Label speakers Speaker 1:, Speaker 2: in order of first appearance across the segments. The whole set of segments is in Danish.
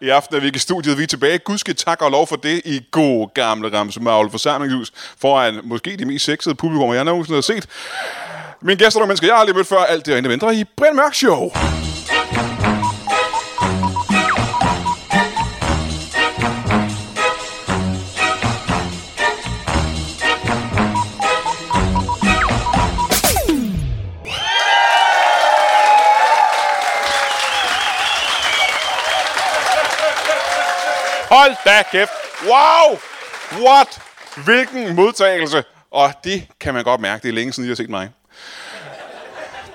Speaker 1: I aften er vi ikke i studiet. Vi er tilbage. Gud skal tak og lov for det i god gamle Ramsemavle forsamlingshus foran måske det mest sexede publikum, jeg nogensinde har set. Mine gæster og mennesker, jeg har aldrig mødt før, alt det og intet mindre i Brian Mørk Show. Hold da kæft. Wow! What? Hvilken modtagelse. Og det kan man godt mærke. Det er længe siden, I har set mig.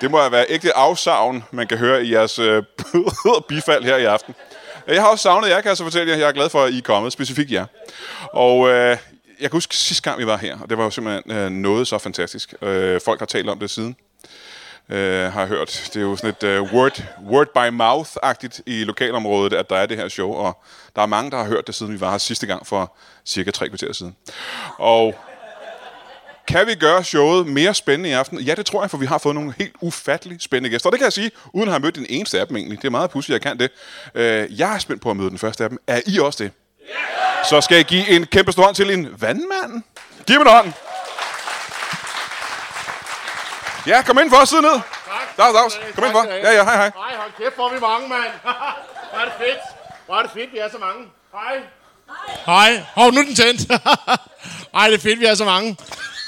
Speaker 1: Det må være ægte afsavn, man kan høre i jeres øh, bifald her i aften. Jeg har også savnet jer, kan jeg så fortælle jer. Jeg er glad for, at I er kommet, specifikt jer. Og øh, jeg kan huske sidste gang, vi var her, og det var jo simpelthen øh, noget så fantastisk. Øh, folk har talt om det siden øh, har jeg hørt. Det er jo sådan et øh, word, word by mouth-agtigt i lokalområdet, at der er det her show, og der er mange, der har hørt det, siden vi var her sidste gang for cirka tre kvarter siden. Og kan vi gøre showet mere spændende i aften? Ja, det tror jeg, for vi har fået nogle helt ufattelig spændende gæster. Og det kan jeg sige, uden at have mødt den eneste af dem egentlig. Det er meget pudsigt, jeg kan det. Øh, jeg er spændt på at møde den første af dem. Er I også det? Så skal jeg give en kæmpe stor hånd til en vandmand. Giv mig en hånd. Ja, kom ind for os, sidde ned.
Speaker 2: Tak.
Speaker 1: Dags, dags. Kom ind for. Ja, ja, hej, hej.
Speaker 2: Hej, hold kæft, hvor er vi mange, mand. hvor er det fedt. Hvor er det fedt, vi er så mange. Hej. Hej. Hov, nu er den tændt. Ej, det er fedt, vi er så mange.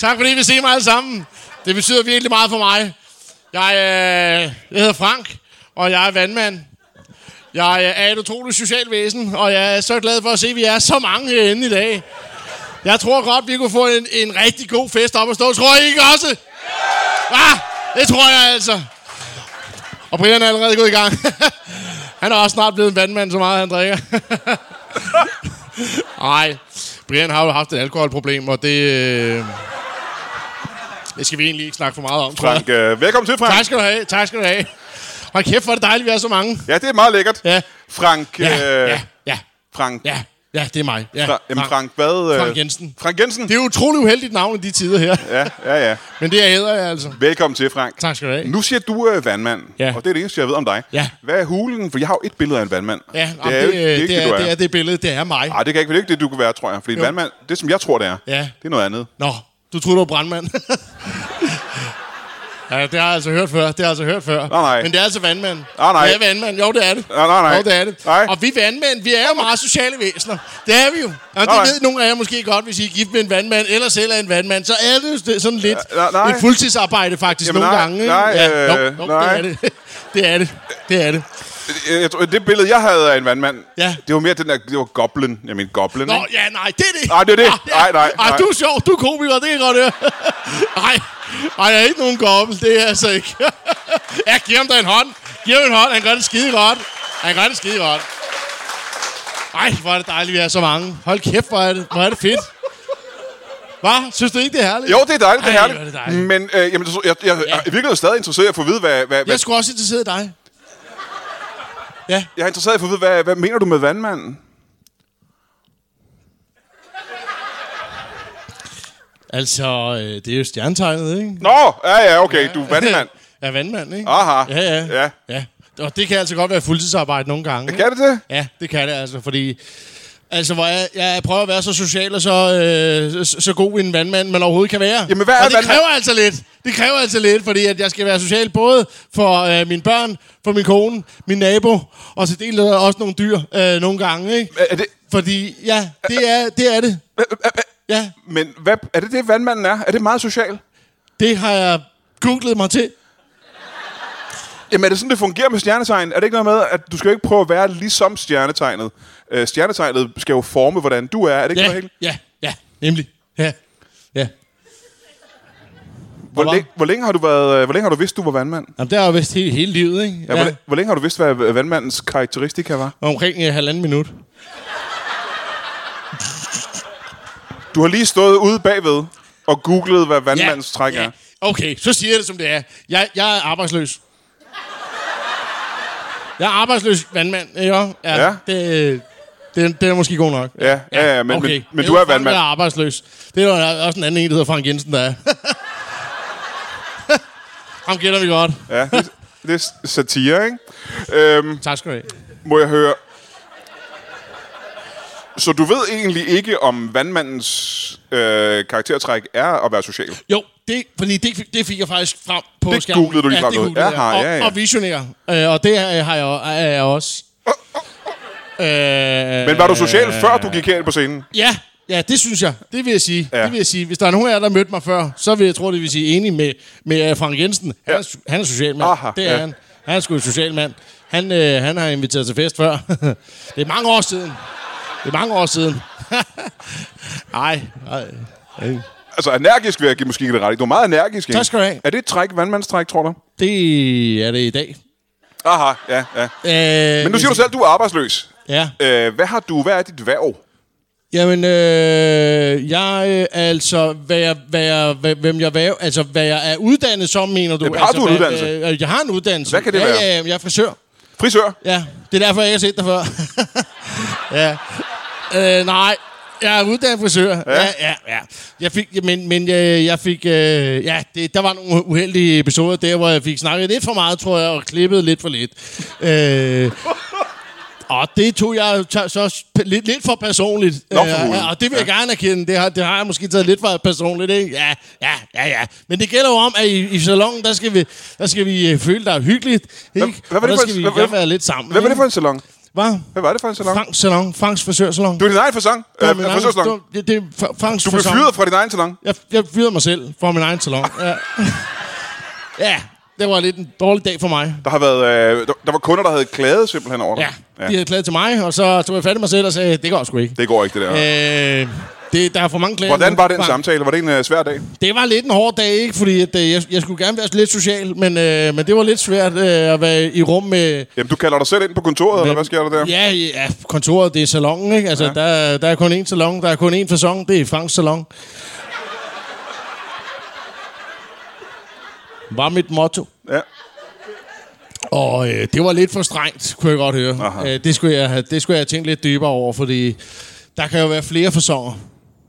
Speaker 2: Tak fordi I vil se mig alle sammen. Det betyder virkelig meget for mig. Jeg, øh, jeg hedder Frank, og jeg er vandmand. Jeg øh, er et utroligt socialt væsen, og jeg er så glad for at se, at vi er så mange herinde i dag. Jeg tror godt, vi kunne få en, en rigtig god fest op at stå. Tror I ikke også? Ah, det tror jeg altså. Og Brian er allerede gået i gang. han er også snart blevet en vandmand, så meget han drikker. Nej, Brian har jo haft et alkoholproblem, og det... Øh, det skal vi egentlig ikke snakke for meget om, tror jeg.
Speaker 1: Frank, øh, velkommen til, Frank.
Speaker 2: Tak skal du have, tak skal du have. Hold kæft, hvor er det dejligt, vi er så mange.
Speaker 1: Ja, det er meget lækkert.
Speaker 2: Ja.
Speaker 1: Frank,
Speaker 2: Ja,
Speaker 1: øh,
Speaker 2: ja, ja,
Speaker 1: Frank,
Speaker 2: ja, ja, det er mig. Ja,
Speaker 1: Fra, jamen, Frank, hvad? øh,
Speaker 2: Frank Jensen.
Speaker 1: Frank Jensen?
Speaker 2: Det er jo utroligt uheldigt navn i de tider her,
Speaker 1: Ja, ja, ja.
Speaker 2: men det er æder jeg altså.
Speaker 1: Velkommen til, Frank.
Speaker 2: Tak skal du have.
Speaker 1: Nu siger du øh, vandmand,
Speaker 2: Ja.
Speaker 1: og det er det eneste, jeg ved om dig.
Speaker 2: Ja.
Speaker 1: Hvad er hulen? For jeg har jo et billede af en vandmand.
Speaker 2: Ja,
Speaker 1: det er jo ikke det, er ikke
Speaker 2: det,
Speaker 1: det, du
Speaker 2: er,
Speaker 1: er.
Speaker 2: det er det billede, det er mig.
Speaker 1: Ej, det kan ikke det, er ikke det, du kan være, tror jeg. Fordi en vandmand, det som jeg tror, det er,
Speaker 2: Ja.
Speaker 1: det er noget andet.
Speaker 2: Nå, du troede, du var brandmand. ja, det har jeg altså hørt før. Det har jeg altså hørt før.
Speaker 1: Nej, nej.
Speaker 2: Men det er altså vandmand.
Speaker 1: Nej, nej.
Speaker 2: Det er vandmand. Jo, det er det.
Speaker 1: Nej, nej, nej.
Speaker 2: Jo, det er det.
Speaker 1: Nej.
Speaker 2: Og vi vandmænd, vi er jo meget sociale væsener. Det er vi jo. Og det
Speaker 1: Nej.
Speaker 2: ved nogle af jer måske godt, hvis I er gift med en vandmand, eller selv er en vandmand, så er det jo st- sådan lidt
Speaker 1: Ja, nej.
Speaker 2: et fuldtidsarbejde faktisk
Speaker 1: Jamen,
Speaker 2: nogle
Speaker 1: nej,
Speaker 2: gange. ikke?
Speaker 1: nej,
Speaker 2: ja, jo,
Speaker 1: øh,
Speaker 2: jo,
Speaker 1: nej.
Speaker 2: Det er det. det er det. Det er det.
Speaker 1: Øh, Jeg, jeg, tror- det billede, jeg havde af en vandmand,
Speaker 2: Ja.
Speaker 1: det var mere den der, det var goblin. Jeg mener goblin,
Speaker 2: Nå,
Speaker 1: ikke?
Speaker 2: ja, nej, det er det.
Speaker 1: Nej, det er det.
Speaker 2: Ah, ja.
Speaker 1: Nej, nej,
Speaker 2: Ej,
Speaker 1: nej.
Speaker 2: du er sjov, du er komiker, det kan jeg godt høre. Nej, nej, jeg er ikke nogen gobbel, det er jeg altså ikke. ja, giv ham da en hånd. Giv ham en hånd, han gør det skide godt. Han gør det skide godt. Ej, hvor er det dejligt, vi er så mange. Hold kæft, hvor er det, hvor er det fedt. Hvad? Synes du ikke, det er herligt?
Speaker 1: Jo, det er dejligt, det er
Speaker 2: Ej,
Speaker 1: herligt.
Speaker 2: hvor er det dejligt.
Speaker 1: Men øh, jamen, så- jeg, jeg, jeg, er i virkeligheden stadig interesseret i at få at vide, hvad, hvad,
Speaker 2: Jeg er
Speaker 1: hvad,
Speaker 2: sgu også interesseret i dig. Ja,
Speaker 1: jeg er interesseret i at få at vide, hvad, hvad mener du med vandmanden?
Speaker 2: altså, øh, det er jo stjernetegnet, ikke?
Speaker 1: Nå, ja, ja, okay, du er vandmand.
Speaker 2: Ja, vandmand, ikke?
Speaker 1: Aha.
Speaker 2: Ja, ja.
Speaker 1: Ja.
Speaker 2: ja. Og det kan altså godt være fuldtidsarbejde nogle gange. ikke?
Speaker 1: Kan det det?
Speaker 2: Ja, det kan det altså, fordi... Altså, hvor jeg, jeg prøver at være så social og så, øh, så, så god en vandmand, man overhovedet kan være.
Speaker 1: Jamen, hvad er
Speaker 2: og det
Speaker 1: vandmand?
Speaker 2: kræver altså lidt. Det kræver altså lidt, fordi at jeg skal være social både for øh, mine børn, for min kone, min nabo, og så del også nogle dyr øh, nogle gange, ikke?
Speaker 1: Er- Er det,
Speaker 2: Fordi, ja, det er det. Er det. Ja,
Speaker 1: men hvad, er det det, vandmanden er? Er det meget social?
Speaker 2: det har jeg googlet mig til.
Speaker 1: Jamen er det sådan, det fungerer med stjernetegn? Er det ikke noget med, at du skal jo ikke prøve at være ligesom stjernetegnet? Øh, stjernetegnet skal jo forme, hvordan du er. Er det ikke
Speaker 2: Ja,
Speaker 1: noget helt?
Speaker 2: ja, ja, nemlig. Ja, ja.
Speaker 1: Hvor,
Speaker 2: Hvor-
Speaker 1: længe, hvor, længe har du været, øh, hvor længe har du vidst, du var vandmand?
Speaker 2: Jamen, det har jeg vist hele, hele livet, ikke?
Speaker 1: Ja, ja. Hvor, læ- hvor længe har du vidst, hvad øh, vandmandens karakteristika var?
Speaker 2: Omkring øh, halvanden minut.
Speaker 1: Du har lige stået ude bagved og googlet, hvad vandmandens træk er.
Speaker 2: Okay, så siger jeg det, som det er. Jeg, jeg er arbejdsløs. Jeg er arbejdsløs vandmand, ikke? også? Ja.
Speaker 1: Ja.
Speaker 2: ja. Det, det, det er måske god nok.
Speaker 1: Ja, ja, ja, men- men- men du er
Speaker 2: Frank,
Speaker 1: vandmand.
Speaker 2: Jeg er arbejdsløs. Det er der også en anden en, der hedder Frank Jensen, der er. Ham kender vi godt.
Speaker 1: Ja, det, det er satire, ikke? Øhm,
Speaker 2: Tak skal du have.
Speaker 1: må jeg høre... Så du ved egentlig ikke, om vandmandens øh, karaktertræk er at være social?
Speaker 2: Jo, det, fordi det, det fik jeg faktisk frem på
Speaker 1: Det
Speaker 2: skærmen.
Speaker 1: googlede du lige
Speaker 2: ja,
Speaker 1: frem
Speaker 2: det
Speaker 1: ud.
Speaker 2: googlede jeg.
Speaker 1: Jaha,
Speaker 2: og,
Speaker 1: ja, ja.
Speaker 2: og visionær. Øh, og det øh, har jeg, jo- er jeg også. Øh,
Speaker 1: Men var du social, før du gik herind på scenen?
Speaker 2: Ja, ja, det synes jeg. Det vil jeg sige.
Speaker 1: Ja.
Speaker 2: Ja. Det vil jeg sige. Hvis der er nogen af jer, der mødte mig før, så vil jeg tro, det vil sige enig med, med øh, Frank Jensen. Han,
Speaker 1: Ja.
Speaker 2: er, su- han er social mand.
Speaker 1: Aha,
Speaker 2: det er
Speaker 1: ja.
Speaker 2: han. Han er sgu en social mand. Han, øh, han har inviteret til fest før. det er mange år siden. Det er mange år siden. Nej, nej.
Speaker 1: Altså, energisk vil jeg give måske ikke det rette. Du er meget energisk, ikke?
Speaker 2: Tak skal du have.
Speaker 1: Er det et træk, vandmandstræk, tror du?
Speaker 2: Det er det i dag.
Speaker 1: Aha, ja, ja.
Speaker 2: Øh,
Speaker 1: Men nu siger du selv, at du er arbejdsløs.
Speaker 2: Ja.
Speaker 1: Øh, hvad har du? Hvad er dit værv?
Speaker 2: Jamen, øh, jeg øh, altså, hvad jeg, hvad jeg, hvad, hvem jeg, hvad, altså, hvad jeg er uddannet som, mener du?
Speaker 1: Jamen, har
Speaker 2: altså,
Speaker 1: du en
Speaker 2: hvad-
Speaker 1: uddannelse?
Speaker 2: Øh, jeg har en uddannelse.
Speaker 1: Hvad kan det
Speaker 2: ja,
Speaker 1: være?
Speaker 2: Ja, ja, jeg er frisør.
Speaker 1: Frisør?
Speaker 2: Ja, det er derfor, jeg ikke har set dig før. ja. Øh, nej, jeg er uddannet frisør. Ja, ja, ja. Jeg fik, men, men jeg, jeg fik, øh, ja, det, der var nogle uheldige episoder der, hvor jeg fik snakket lidt for meget, tror jeg, og klippet lidt for lidt. øh, og det tog jeg t- så sp- lidt, lidt for personligt.
Speaker 1: Nå, for
Speaker 2: Øh,
Speaker 1: hulen.
Speaker 2: og det vil jeg gerne erkende. Det har, det har jeg måske taget lidt for personligt, ikke? Ja, ja, ja, ja. Men det gælder jo om, at i, i salongen, der skal vi, der skal vi øh, føle dig hyggeligt. Ikke?
Speaker 1: hvad var
Speaker 2: og
Speaker 1: det for
Speaker 2: der skal
Speaker 1: en-
Speaker 2: vi
Speaker 1: hvad-
Speaker 2: gerne
Speaker 1: hvad-
Speaker 2: være lidt sammen.
Speaker 1: Hvad var
Speaker 2: ikke?
Speaker 1: det for en salon?
Speaker 2: Hvad?
Speaker 1: Hvad var det for en salon?
Speaker 2: Franks salon. Franks frisørsalon.
Speaker 1: Du er din egen fasong.
Speaker 2: Det var
Speaker 1: Øh,
Speaker 2: min egen-
Speaker 1: frisørsalon.
Speaker 2: det var- Det, det er Fra- Franks
Speaker 1: Du blev
Speaker 2: facon.
Speaker 1: fyret fra din egen salon.
Speaker 2: Jeg, jeg fyrede mig selv fra min egen salon. Ja. ja, det var lidt en dårlig dag for mig.
Speaker 1: Der, har været, øh, der, der var kunder, der havde klaget simpelthen over dig.
Speaker 2: Ja, de havde klaget til mig, og så tog jeg fat i mig selv og sagde, det går sgu ikke.
Speaker 1: Det går ikke, det der.
Speaker 2: Øh, det, der er for mange klager.
Speaker 1: Hvordan
Speaker 2: nu.
Speaker 1: var den
Speaker 2: Frank.
Speaker 1: samtale? Var det en øh, svær dag?
Speaker 2: Det var lidt en hård dag, ikke? Fordi at, øh, jeg, jeg skulle gerne være lidt social, men, øh, men det var lidt svært øh, at være i rum med,
Speaker 1: Jamen, du kalder dig selv ind på kontoret, eller hvad sker der der?
Speaker 2: Ja, ja, kontoret, det er salongen, ikke? Altså, ja. der, der er kun én salon, der er kun én fasong, det er Franks salon. Var mit motto.
Speaker 1: Ja.
Speaker 2: Og øh, det var lidt for strengt, kunne jeg godt høre.
Speaker 1: Aha.
Speaker 2: Øh, det, skulle jeg have, det skulle jeg have tænkt lidt dybere over, fordi der kan jo være flere fasonger.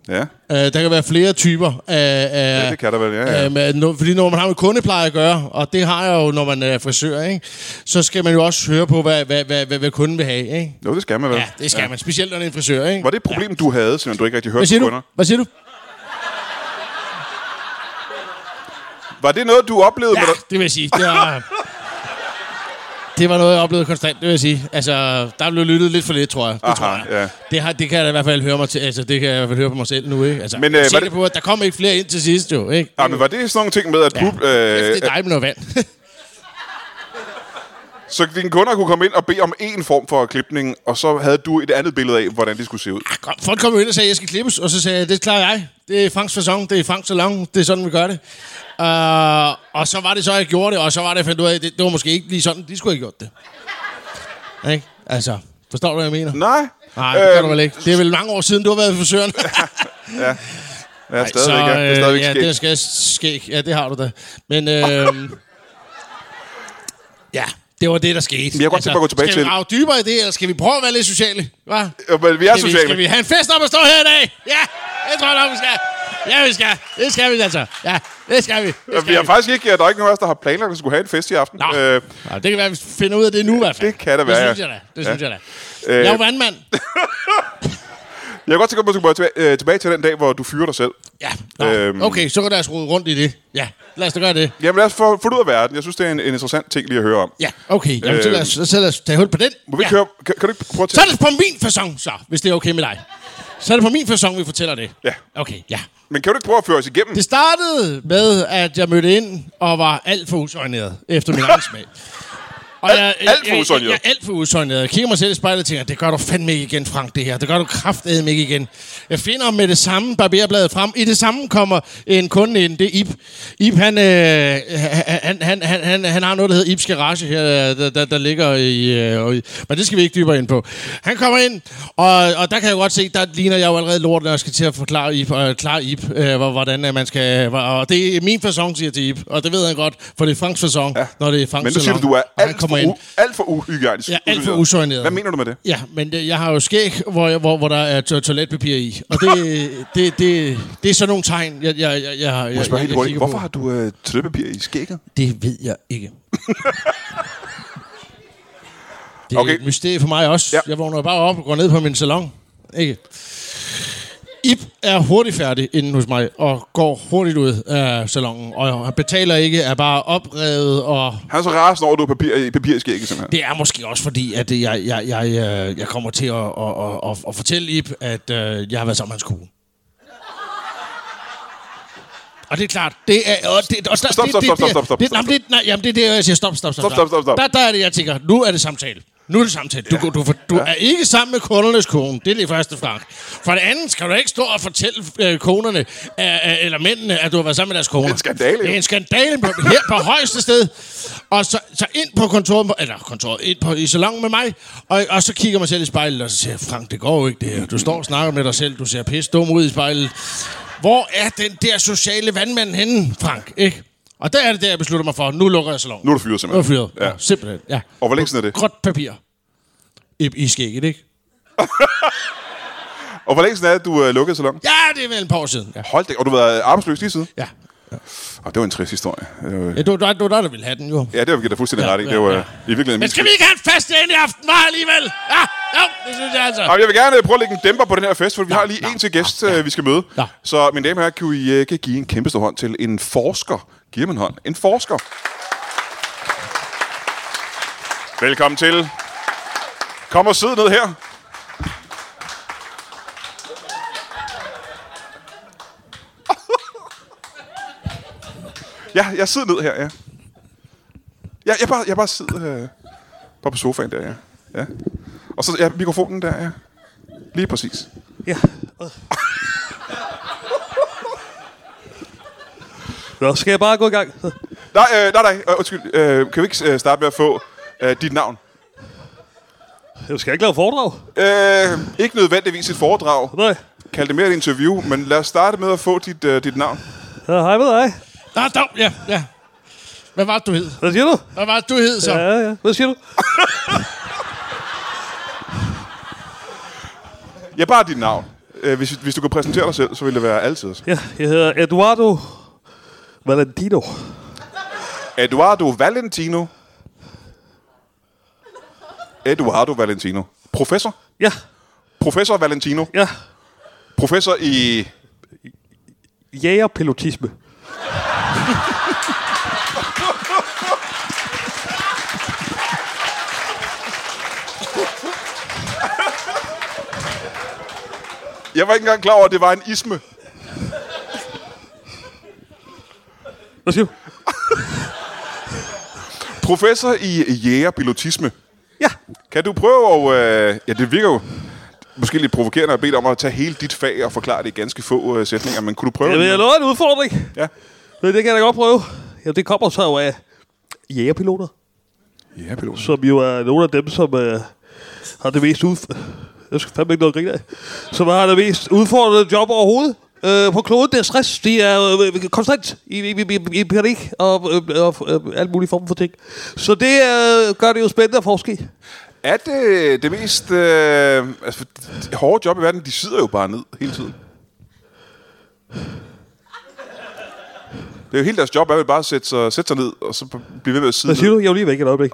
Speaker 1: ja.
Speaker 2: Øh, der kan være flere typer af... af
Speaker 1: Ja, det kan der vel, ja, ja.
Speaker 2: Øhm, øh, nu- fordi når man har med kundepleje at gøre, og det har jeg jo, når man er frisør, ikke? så skal man jo også høre på, hvad, hvad, hvad, hvad, hvad kunden vil have. Ikke?
Speaker 1: Jo, det skal man vel.
Speaker 2: Ja, det skal ja. man. Specielt når det er en frisør, ikke?
Speaker 1: Var det et problem, du havde, selvom du ikke rigtig hørte
Speaker 2: Hvad siger
Speaker 1: på
Speaker 2: du?
Speaker 1: kunder?
Speaker 2: Hvad siger du?
Speaker 1: Var det noget, du oplevede?
Speaker 2: Ja,
Speaker 1: med dig?
Speaker 2: det vil jeg sige. Det var, det var noget, jeg oplevede konstant, det vil jeg sige. Altså, der blev lyttet lidt for lidt, tror jeg. Det
Speaker 1: Aha,
Speaker 2: tror jeg.
Speaker 1: ja.
Speaker 2: Det, har, det kan jeg da i hvert fald høre mig til. Altså, det kan jeg i hvert fald høre på mig selv nu, ikke? Altså,
Speaker 1: Men,
Speaker 2: Men,
Speaker 1: øh,
Speaker 2: øh,
Speaker 1: var
Speaker 2: sikker
Speaker 1: det-
Speaker 2: det... på, at der kom ikke flere ind til sidst, jo, ikke?
Speaker 1: Ja, Ah, men var det sådan nogle ting med, at du...
Speaker 2: Kæft,
Speaker 1: Øh,
Speaker 2: det er dejligt med noget vand.
Speaker 1: så dine kunder kunne komme ind og bede om en form for klipning, og så havde du et andet billede af, hvordan det skulle se ud.
Speaker 2: Ah, Kom, Folk kom jo ind og sagde, at jeg skal klippes, og så sagde jeg, det klarer jeg. Det er Franks fasong, det er Franks salon, det er sådan, vi gør det. Uh, og så var det så, jeg gjorde det, og så var det, jeg fandt ud af, at det, det var måske ikke lige sådan, de skulle have gjort det. Ikke? Altså, forstår du, hvad jeg mener?
Speaker 1: Nej.
Speaker 2: Nej, det kan
Speaker 1: Øhm,
Speaker 2: du vel ikke. Det er vel mange år siden, du har været i frisøren.
Speaker 1: Ja, stadigvæk, ja. Det er stadigvæk
Speaker 2: øh, ja,
Speaker 1: sket.
Speaker 2: det er skæg. skæg. Ja, det har du da. Men øh, ja, det var det, der skete. Altså,
Speaker 1: jeg kunne godt tænke mig at gå tilbage
Speaker 2: skal
Speaker 1: til-
Speaker 2: vi rave dybere i det, eller skal vi prøve at være lidt sociale? Hva?
Speaker 1: Ja, men vi er
Speaker 2: skal, vi,
Speaker 1: sociale.
Speaker 2: skal vi have en fest om at stå her i dag? Ja, det tror jeg nok, vi skal. Ja, vi skal. Det skal vi altså. Ja, det skal vi. Det skal
Speaker 1: Vi har faktisk ikke, der er ikke nogen af os, der har planlagt, at vi skulle have en fest i aften.
Speaker 2: Nå. Øh, Nå, det kan være, at vi finder ud af det nu i hvert fald.
Speaker 1: det kan det være,
Speaker 2: Det synes
Speaker 1: ja.
Speaker 2: jeg da. Det
Speaker 1: Ja. Øh.
Speaker 2: synes jeg da. Jeg er jo vandmand.
Speaker 1: jeg kan godt tænke mig, at du skulle gå tilba- øh, tilbage til den dag, hvor du fyrer dig selv.
Speaker 2: Ja, Nå,
Speaker 1: Øhm.
Speaker 2: okay, så kan lad os rode rundt i det. Ja, lad os da gøre det.
Speaker 1: Jamen lad os få, få det ud af verden. Jeg synes, det er en, en interessant ting lige at høre om.
Speaker 2: Ja, okay. Jamen, øh, så, lad os, så lad os tage hul på den.
Speaker 1: Må vi
Speaker 2: ja.
Speaker 1: ikke høre, kan, kan du ikke prøve at
Speaker 2: Så
Speaker 1: tage...
Speaker 2: er det på min fasong, så, hvis det er okay med dig. Så er det på min fasong, vi fortæller det.
Speaker 1: Ja.
Speaker 2: Okay, ja.
Speaker 1: Men kan du ikke prøve at føre os igennem?
Speaker 2: Det startede med, at jeg mødte ind og var alt for usøgneret, efter min egen smag. Og
Speaker 1: Alt- alt for
Speaker 2: Jeg,
Speaker 1: usøgneret?
Speaker 2: jeg, jeg, er alt for usøgneret. Jeg kigger mig selv i spejlet og tænker, det gør du fandme ikke igen, Frank, det her. Det gør du kraftedeme ikke igen. Jeg finder med det samme barberbladet frem. I det samme kommer en kunde ind, det er Ib. Ib, han, øh, han, han, han, han, han har noget, der hedder Ibs Garage her, øh, der, der, der ligger i, øh, og i... Men det skal vi ikke dybere ind på. Han kommer ind, og, og der kan jeg godt se, der ligner jeg jo allerede lort, når jeg skal til at forklare Ib, øh, klare Ib øh, hvor- hvordan øh, man skal... hvor- Og det er min façon, siger jeg til Ib. Og det ved han godt, for det er Franks façon, ja. når det er Franks
Speaker 1: Men nu siger du,
Speaker 2: salon.
Speaker 1: du er
Speaker 2: Og han
Speaker 1: alt for,
Speaker 2: kommer ind.
Speaker 1: u- alt for uhygiejnisk.
Speaker 2: Ja, alt for usøgneret.
Speaker 1: Hvad mener du med det?
Speaker 2: Ja, men det, jeg har jo skæg, hvor, jeg, hvor, hvor der er to- toiletpapir i. Og det, det, det, det er sådan nogle tegn, jeg, jeg, jeg, jeg, jeg,
Speaker 1: Jeg
Speaker 2: jeg,
Speaker 1: spørger
Speaker 2: jeg,
Speaker 1: helt
Speaker 2: jeg
Speaker 1: hurtigt.
Speaker 2: kigger
Speaker 1: Hvorfor
Speaker 2: på.
Speaker 1: har du øh, tødepapir i skægget?
Speaker 2: Det ved jeg ikke. det er
Speaker 1: Okay.
Speaker 2: okay. et mysterie for mig også.
Speaker 1: Ja.
Speaker 2: Ja. Jeg vågner bare op og går ned på min salon. Ikke? Ip er hurtigt færdig inden hos mig, og går hurtigt ud af salongen, og han betaler ikke, er bare oprevet, og
Speaker 1: Han er så rasende over, at du er papir, i papirskægget, simpelthen.
Speaker 2: det er måske også fordi, at jeg, jeg, jeg, øh, jeg kommer til at, at, at, at, at fortælle Ip, at øh, jeg har været sammen med hans kone. Og det er klart, det er... Og det, og stop,
Speaker 1: Stop, stop, stop, stop, stop, stop,
Speaker 2: Det,
Speaker 1: stop,
Speaker 2: nej, det, nej, jamen, det er det, jeg siger. Stop, stop, stop.
Speaker 1: Stop, stop, stop, stop.
Speaker 2: Der, der er det, jeg tænker. Nu er det samtale. Nu er det samtale. Du, ja. du, du, du ja. er ikke sammen med kundernes kone. Det er det første flag. For det andet skal du ikke stå og fortælle øh, konerne, øh, øh, eller mændene, at du har været sammen med deres kone.
Speaker 1: Det er en skandale, jo.
Speaker 2: Det er en skandale på, her på højeste sted. Og så, så ind på kontoret, eller kontoret, ind på, i salongen med mig, og, og så kigger jeg mig selv i spejlet, og så siger jeg, Frank, det går jo ikke det her. Du står og snakker med dig selv, du ser pisse dum ud i spejlet. Hvor er den der sociale vandmand henne, Frank? Ikke? Og der er det der, jeg beslutter mig for. Nu lukker jeg salongen.
Speaker 1: Nu er du fyret,
Speaker 2: Nu er jeg
Speaker 1: simpelthen.
Speaker 2: fyret. Ja.
Speaker 1: Ja.
Speaker 2: ja. Simpelthen, ja.
Speaker 1: Og hvor længe siden er det?
Speaker 2: Gråt papir. I, I skægget, ikke?
Speaker 1: Og hvor længe siden er det, du er lukket salon?
Speaker 2: Ja, det er vel en par år siden. Ja.
Speaker 1: Hold det, og du har været arbejdsløs lige siden?
Speaker 2: ja.
Speaker 1: Og det var en trist historie. Øh,
Speaker 2: ja du, du, du, der, der ville have den, jo.
Speaker 1: Ja, det var vi da fuldstændig
Speaker 2: Ja,
Speaker 1: ret i. Det
Speaker 2: ja,
Speaker 1: var
Speaker 2: ja.
Speaker 1: øh, i virkeligheden
Speaker 2: Men
Speaker 1: min
Speaker 2: skal
Speaker 1: skyld.
Speaker 2: vi ikke have en fast ende i aften, var alligevel? Ja, jo, det synes jeg altså.
Speaker 1: Og jeg vil gerne øh, prøve at lægge en dæmper på den her fest, for vi har lige
Speaker 2: nå,
Speaker 1: en til gæst, øh, vi skal møde.
Speaker 2: Nå.
Speaker 1: Så mine damer og herrer, kan vi øh, kan give en kæmpe stor hånd til en forsker. Giver man hånd? En forsker. Velkommen til. Kom og sid ned her. Ja, jeg sidder ned her, ja. Ja, jeg bare, jeg bare sidder øh, bare på sofaen der, ja. ja. Og så ja, mikrofonen der, ja. Lige præcis.
Speaker 3: Ja. Øh. Nå, skal jeg bare gå i gang?
Speaker 1: Nej, øh, nej, nej. Øh, undskyld. Øh, kan vi ikke øh, starte med at få øh, dit navn?
Speaker 3: Jeg skal ikke lave foredrag.
Speaker 1: Øh, ikke nødvendigvis et foredrag.
Speaker 3: Nej.
Speaker 1: Kald det mere et interview, men lad os starte med at få dit, øh, dit navn.
Speaker 3: Ja, hej med dig.
Speaker 2: Nå, dog, Ah, ja, ja. Hvad var det, du hed?
Speaker 3: Hvad siger du?
Speaker 2: Hvad var det, du hed så? Ja.
Speaker 3: Ja, ja. Hvad siger du?
Speaker 1: Ja, bare dit navn. Øh, hvis, hvis du kan præsentere dig selv, så vil det være altid.
Speaker 3: Ja, jeg hedder Eduardo Valentino.
Speaker 1: Eduardo Valentino. Eduardo Valentino. Professor.
Speaker 3: Ja,
Speaker 1: Professor Valentino.
Speaker 3: ja.
Speaker 1: Professor i...
Speaker 3: Jægerpilotisme.
Speaker 1: Jeg var ikke engang klar over, at det var en isme.
Speaker 3: Hvad siger du?
Speaker 1: Professor i jægerpilotisme.
Speaker 3: Ja.
Speaker 1: Kan du prøve at... Øh, ja, det virker jo måske lidt provokerende at bede dig om at tage hele dit fag og forklare det i ganske få øh, sætninger, men kunne du prøve...
Speaker 3: Jeg vil
Speaker 1: lige-
Speaker 3: have lovet en udfordring.
Speaker 1: ja.
Speaker 3: Men det kan jeg da godt prøve. Ja, det kommer så jo af jægerpiloter,
Speaker 1: Ja, pilot.
Speaker 3: som jo er nogle af dem, som øh, har det mest ud... Jeg skal fandme ikke noget grine af. Som har det mest udfordrende job overhovedet. Øh, på kloden, det er stress. De er øh, konstant i, i, i, i panik og, øh, og øh, alle mulige former for ting. Så det øh, gør det jo spændende at forske i.
Speaker 1: Er det det mest øh, altså, det hårde job i verden? De sidder jo bare ned hele tiden. Det er jo hele deres job, er jo bare at sætte sig, sætte sig ned og så blive ved med at sidde
Speaker 3: Hvad
Speaker 1: ned.
Speaker 3: siger du? Jeg er jo lige væk et øjeblik.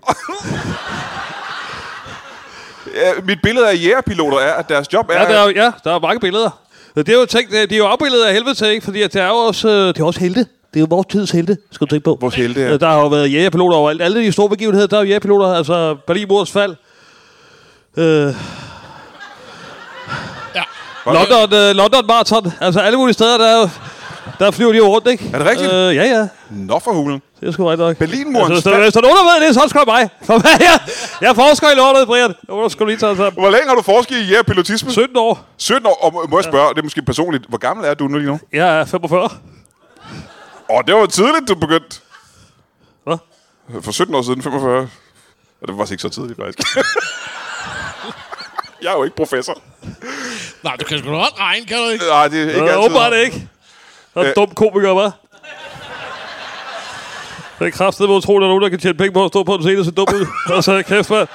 Speaker 1: Ja, mit billede af jægerpiloter er, at deres job er...
Speaker 3: Ja, der er, jo- ja, der er mange billeder. Det er jo tænkt, det er jo afbilledet af helvede til, ikke? Fordi at det er jo også, øh, det er også helte. Det er jo vores tids helte, skal du tænke på.
Speaker 1: Vores helte, ja.
Speaker 3: Øh, Der har jo været jægerpiloter overalt. Alle de store begivenheder, der er jo jægerpiloter. Altså, Berlinmurens fald. Øh,
Speaker 2: ja.
Speaker 3: London, øh, London Marathon. Altså, alle mulige steder, der, er jo- der flyver de jo rundt, ikke?
Speaker 1: Er det rigtigt?
Speaker 3: Øh, ja, ja.
Speaker 1: Nå for hulen.
Speaker 3: Det er sgu rigtigt nok.
Speaker 1: Berlinmurens
Speaker 3: altså,
Speaker 1: fald.
Speaker 3: fald. Hvis der er nogen, der ved det, så er det sgu da mig. For hvad jeg, jeg forsker i lortet, Brian. Jeg må sgu lige tage sammen.
Speaker 1: Hvor længe har du forsket i jægerpilotisme?
Speaker 3: 17 år.
Speaker 1: 17 år. Og må- må jeg spørge, det er måske personligt, hvor gammel er du nu lige nu?
Speaker 3: Jeg er 45.
Speaker 1: Åh, det var tidligt, du begyndte.
Speaker 3: Hvad?
Speaker 1: For 17 år siden, 45. Og det var faktisk ikke så tidligt, faktisk. jeg er jo ikke professor.
Speaker 2: Nej, du kan sgu da godt regne, kan du ikke?
Speaker 1: Nej, det er ikke
Speaker 3: Ikke
Speaker 1: altid.
Speaker 3: øh, åbenbart ikke. Der er
Speaker 1: Øh.
Speaker 3: øh. dum komiker, hva'? Det er kraftigt, hvor tror, der er nogen, der kan tjene penge på at stå på en scene og se dum ud. altså, kæft, mand.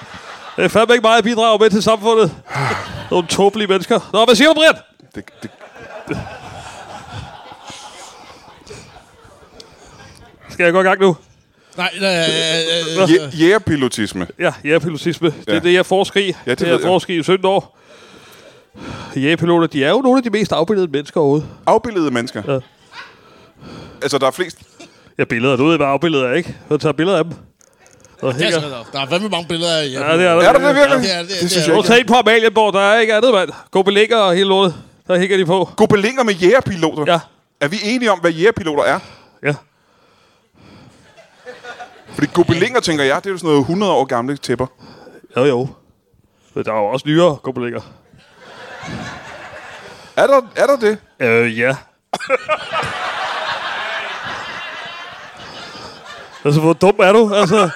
Speaker 3: Det er fandme ikke meget at bidrage med til samfundet. Nogle tåbelige mennesker. Nå, hvad siger du, Brian?
Speaker 1: Det, det,
Speaker 3: Skal jeg gå i gang nu?
Speaker 2: Nej, øh, øh, øh,
Speaker 1: jæ- jægerpilotisme.
Speaker 3: Ja, ja, pilotisme. Det er
Speaker 1: Ja.
Speaker 3: det, jeg forsker i. Ja,
Speaker 1: det
Speaker 3: det, det
Speaker 1: ved
Speaker 3: jeg
Speaker 1: jeg.
Speaker 3: forsker i i 17 år. Jægerpiloter, de er jo nogle af de mest afbildede mennesker overhovedet.
Speaker 1: Afbildede mennesker.
Speaker 3: Ja.
Speaker 1: Altså, der er flest...
Speaker 3: Ja, billeder. Du ved, hvad afbilleder er, ikke? Så tager billeder af dem. Og
Speaker 2: Det er
Speaker 3: hænger.
Speaker 2: sådan noget. Der er fandme mange billeder af jer.
Speaker 3: Ja, det er der.
Speaker 1: Er der det virkelig?
Speaker 2: Ja, det er- det er-
Speaker 1: det synes
Speaker 2: det er-
Speaker 1: jeg
Speaker 3: Og
Speaker 1: ikke.
Speaker 3: tag på Amalienborg, der er ikke andet, mand. Gå belægger og hele lortet. Der hænger de på.
Speaker 1: Gobelinger med jægerpiloter.
Speaker 3: Ja.
Speaker 1: Er vi enige om, hvad jægerpiloter er?
Speaker 3: Ja.
Speaker 1: Fordi gobelinger, tænker jeg, det er jo sådan noget 100 år gamle tæpper.
Speaker 3: Jo, jo. Men der er jo også nyere gobelinger.
Speaker 1: Er der, er der det?
Speaker 3: Øh, ja. altså, hvor dum er du? Altså,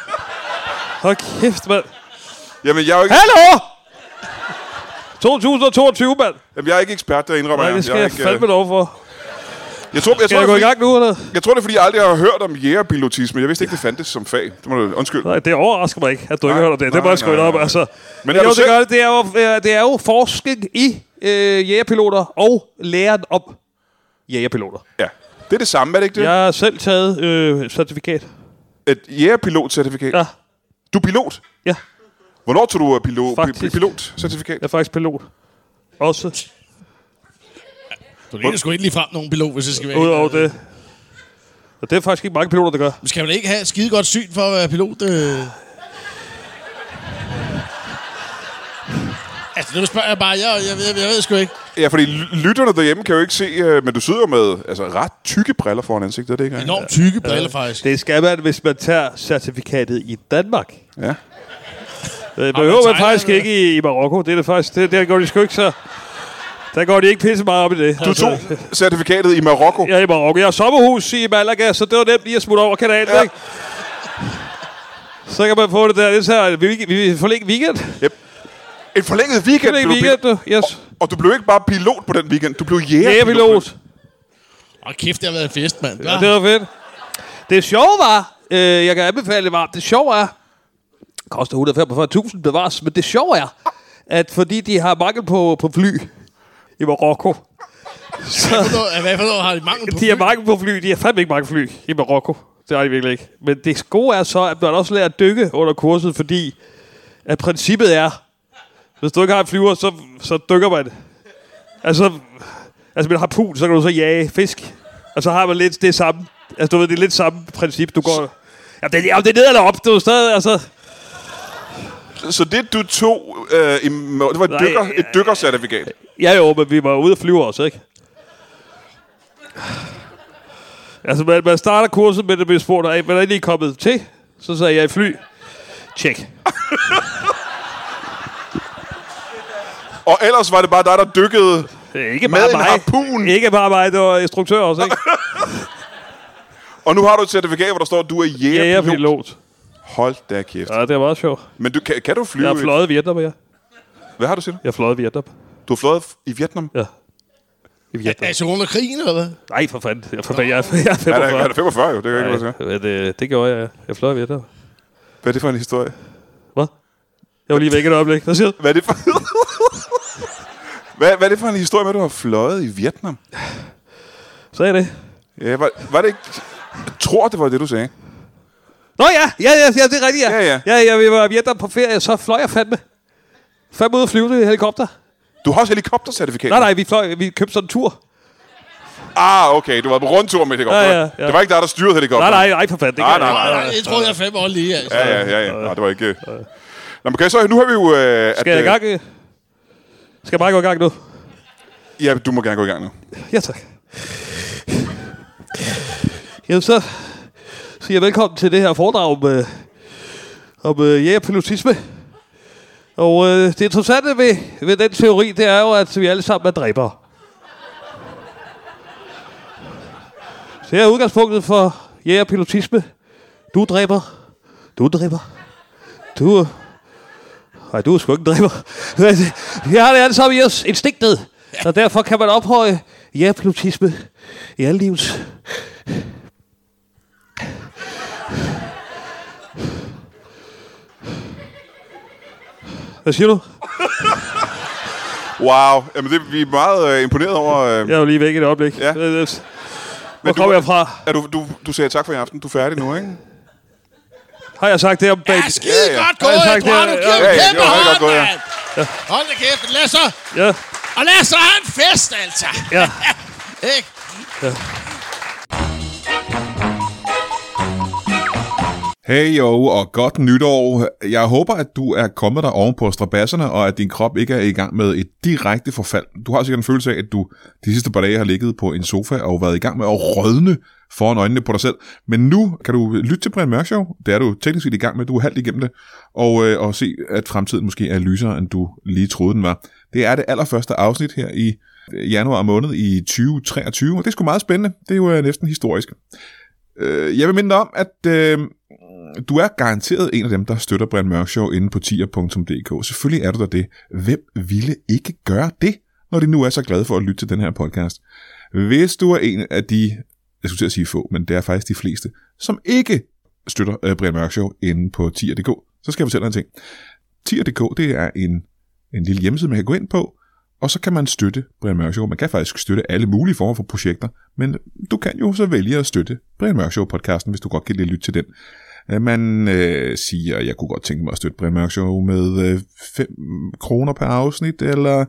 Speaker 3: hold kæft, mand.
Speaker 1: Jamen, jeg er jo ikke,
Speaker 3: Hallo! 2022, mand.
Speaker 1: jamen, jeg er ikke ekspert, der indrømmer
Speaker 3: Nej, det skal jeg,
Speaker 1: ikke, øh,
Speaker 3: fandme lov for.
Speaker 1: jeg, tror, jeg,
Speaker 3: Skal
Speaker 1: tror,
Speaker 3: jeg gå i
Speaker 1: det er,
Speaker 3: gang nu, eller?
Speaker 1: fordi- jeg tror, det er, fordi jeg aldrig har hørt om jægerpilotisme. Jeg vidste ikke, det fandtes som fag. Det må du, undskyld.
Speaker 3: Nej, det overrasker mig ikke, at du ikke
Speaker 1: Nej,
Speaker 3: hører det. Det
Speaker 1: nej,
Speaker 3: må jeg sgu
Speaker 1: nej,
Speaker 3: op,
Speaker 1: nej.
Speaker 3: altså.
Speaker 1: Men
Speaker 3: Men
Speaker 1: er du
Speaker 3: jo, det
Speaker 1: selv-
Speaker 3: gør det. Det er jo, øh, det er jo forskning i øh, jægerpiloter og læren om jægerpiloter.
Speaker 1: Ja. Det er det samme, er det ikke det?
Speaker 3: Jeg har selv taget øh, certifikat.
Speaker 1: Et jægerpilotcertifikat.
Speaker 3: Ja,
Speaker 1: Du er pilot.
Speaker 3: ja.
Speaker 1: Hvornår tog du øh, pilot,
Speaker 3: Faktisk.
Speaker 1: pilotcertifikat?
Speaker 3: Jeg er faktisk pilot. Også.
Speaker 2: Du ligner sgu ikke lige frem nogen pilot, hvis det skal være.
Speaker 3: Udover det. Og det er faktisk ikke mange piloter, der gør.
Speaker 2: Skal man ikke have et skide godt syn for at være pilot? Øh? Altså, nu spørger jeg bare. Jeg, jeg, jeg, jeg ved sgu ikke.
Speaker 1: Ja, fordi l- lytterne derhjemme kan jo ikke se, øh, men du sidder jo med altså, ret tykke briller foran ansigtet, er det ikke? rigtigt?
Speaker 2: Enormt tykke briller, faktisk.
Speaker 3: Det skal man, hvis man tager certifikatet i Danmark.
Speaker 1: Ja.
Speaker 3: Det behøver man
Speaker 2: Thailand,
Speaker 3: faktisk
Speaker 2: eller?
Speaker 3: ikke i, i Marokko. Det er det faktisk. Det, der går de sgu ikke så... Der går de ikke pisse meget op i det.
Speaker 1: Du tog certifikatet i Marokko.
Speaker 3: Jeg er i Marokko. Jeg har sommerhus i Malaga, så det var nemt lige at smutte over kanalen,
Speaker 1: Ja.
Speaker 3: ja. ikke? Så kan man få det der. Det er så, her, vi, vi, vi forlænge weekend.
Speaker 1: En forlænget weekend.
Speaker 3: Forlænge
Speaker 1: blev du
Speaker 3: weekend,
Speaker 1: pil-
Speaker 3: du. Yes.
Speaker 1: Og du blev ikke bare pilot på den weekend, du blev jægerpilot.
Speaker 3: Jægerpilot.
Speaker 2: Åh, kæft, det har været en fest, mand.
Speaker 3: Ja, det var fedt. Det sjove var, øh, jeg kan anbefale det varmt, det sjove er, koster 145.000 bevares, men det sjove er, at fordi de har mangel på, på fly i Marokko,
Speaker 2: Hvad for noget- Hvad for noget har de mangel på?
Speaker 3: de har
Speaker 2: fly?
Speaker 3: mangel på fly, de har fandme ikke mange fly i Marokko. Det har de virkelig ikke. Men det gode er så, at man også lærer at dykke under kurset, fordi at princippet er, hvis du ikke har en flyver, så, så dykker man. Altså, altså med en harpun, så kan du så jage fisk. Og så har man lidt det samme. Altså, du ved, det er lidt samme princip, du går... Ja, det, ja, det er ned eller op, det er jo stadig, altså...
Speaker 1: Så det, du tog, øh, i, Mar- det var et,
Speaker 3: Nej,
Speaker 1: dykker,
Speaker 3: øh,
Speaker 1: et dykkercertifikat.
Speaker 3: Ja jo, men vi var ude og flyve også, ikke? Altså, man, man starter kurset med, at bliver spurgt, "Hey, hvordan er I lige kommet til? Så sagde jeg, i fly. Tjek.
Speaker 1: Og ellers var det bare dig, der dykkede.
Speaker 3: Ikke
Speaker 1: Med
Speaker 3: bare
Speaker 1: en
Speaker 3: mig.
Speaker 1: harpun.
Speaker 3: Ikke bare mig, det var instruktør også, ikke?
Speaker 1: Og nu har du et certifikat, hvor der står, at du er
Speaker 3: ja, jeg er
Speaker 1: jægerpilot.
Speaker 3: pilot.
Speaker 1: Hold da kæft.
Speaker 3: Ja, det var meget sjovt.
Speaker 1: Men du, kan, kan du flyve?
Speaker 3: Jeg har fløjet i Vietnam, ja.
Speaker 1: Hvad har du siger?
Speaker 3: Jeg har fløjet i Vietnam.
Speaker 1: Du har fløjet f- i Vietnam?
Speaker 3: Ja. I Vietnam.
Speaker 2: Altså, under krigen, eller hvad?
Speaker 3: Nej, for fanden. Jeg, for fanden. jeg, er- jeg er
Speaker 1: Er der, er der
Speaker 3: 45.
Speaker 1: 45 jo? Det kan jeg ikke være
Speaker 3: Nej, men, øh, det gjorde jeg. Jeg fløj i Vietnam.
Speaker 1: Hvad er det for en historie?
Speaker 3: Hvad? Jeg var lige væk et øjeblik. Hvad siger du?
Speaker 1: Hvad er det for... hvad, hvad er det for en historie med, at du har fløjet i Vietnam?
Speaker 3: Sagde jeg det?
Speaker 1: Ja, var, var det ikke... Jeg tror, det var det, du sagde.
Speaker 3: Nå ja, ja, ja, ja det er rigtigt, ja.
Speaker 1: Ja, ja.
Speaker 3: ja, ja vi var i Vietnam på ferie, så fløj jeg fandme. Fandme ud og flyve i helikopter.
Speaker 1: Du har også helikoptercertifikat.
Speaker 3: Nej, nej, vi, fløj, vi købte sådan en tur.
Speaker 1: Ah, okay. Du var på rundtur med helikopter.
Speaker 3: Ja, ja, ja.
Speaker 1: Det var ikke dig, der styrede helikopter.
Speaker 3: Nej, nej, nej, for fanden. Det
Speaker 1: Nej,
Speaker 3: kan jeg
Speaker 1: nej,
Speaker 3: ikke.
Speaker 1: nej.
Speaker 2: Nej, det tror jeg er fem år lige, altså.
Speaker 1: Ja, ja, ja. ja. Nej, det var ikke... Nå, men okay, så nu har vi jo... Øh,
Speaker 3: Skal jeg i gang? øh? Skal jeg bare gå i gang nu?
Speaker 1: Øh, ja, du må gerne gå i gang nu.
Speaker 3: Ja, tak. Jamen så siger jeg velkommen til det her foredrag om, øh, om øh, jægerpilotisme. Og øh, det interessante ved, ved den teori, det er jo, at vi alle sammen er dræbere. Så her er udgangspunktet for jægerpilotisme. Du dræber. Du dræber. Du... øh, Nej, du er sgu ikke en dræber. Men Vi har det alle sammen i os instinktet. Og derfor kan man ophøje jægerpilotisme i alle livets Hvad siger du?
Speaker 1: Wow. Jamen, det, vi er meget øh, imponeret over... Øh,
Speaker 3: Jeg er jo lige væk i et øjeblik.
Speaker 1: Ja.
Speaker 3: Øh, øh, Hvor
Speaker 1: Men du-
Speaker 3: kommer jeg fra?
Speaker 1: er du, du, du sagde tak for i aften. Du er færdig nu, ikke?
Speaker 3: Har jeg sagt det om bag?
Speaker 2: Ja, skide
Speaker 1: Ja, ja.
Speaker 2: godt
Speaker 3: Ja,
Speaker 2: gået,
Speaker 3: tak, det-
Speaker 2: Eduardo.
Speaker 3: ja,
Speaker 2: Giv
Speaker 1: ja,
Speaker 2: ham
Speaker 1: ja, det
Speaker 2: kæmpe
Speaker 1: var rigtig
Speaker 2: hånd,
Speaker 1: godt gået, ja.
Speaker 2: mand. Hold da kæft. Lad så.
Speaker 3: Ja.
Speaker 2: Og lad os da have en fest, altså.
Speaker 3: Ja.
Speaker 2: Ikke?
Speaker 1: Hey jo, og godt nytår. Jeg håber, at du er kommet dig oven på strabasserne, og at din krop ikke er i gang med et direkte forfald. Du har sikkert en følelse af, at du de sidste par dage har ligget på en sofa og været i gang med at rødne foran øjnene på dig selv. Men nu kan du lytte til Brian Mørk Show. Det er du teknisk set i gang med. Du er halvt igennem det. Og, øh, og se, at fremtiden måske er lysere, end du lige troede, den var. Det er det allerførste afsnit her i øh, januar måned i 2023. Og det er sgu meget spændende. Det er jo øh, næsten historisk. Øh, jeg vil minde dig om, at øh, du er garanteret en af dem, der støtter Brian Mørk Show inde på tier.dk. Selvfølgelig er du der det. Hvem ville ikke gøre det, når de nu er så glade for at lytte til den her podcast? Hvis du er en af de, jeg skulle til at sige få, men det er faktisk de fleste, som ikke støtter øh, Brian Mørk Show inde på tier.dk, så skal jeg fortælle dig en ting. Tier.dk, det er en, en lille hjemmeside, man kan gå ind på, og så kan man støtte Brian Mørk Show. Man kan faktisk støtte alle mulige former for projekter, men du kan jo så vælge at støtte Brian Mørk Show-podcasten, hvis du godt kan lide at lytte til den. Øh, Man øh, siger, jeg kunne godt tænke mig at støtte Brian Mørk Show med øh, 5 kroner per afsnit, eller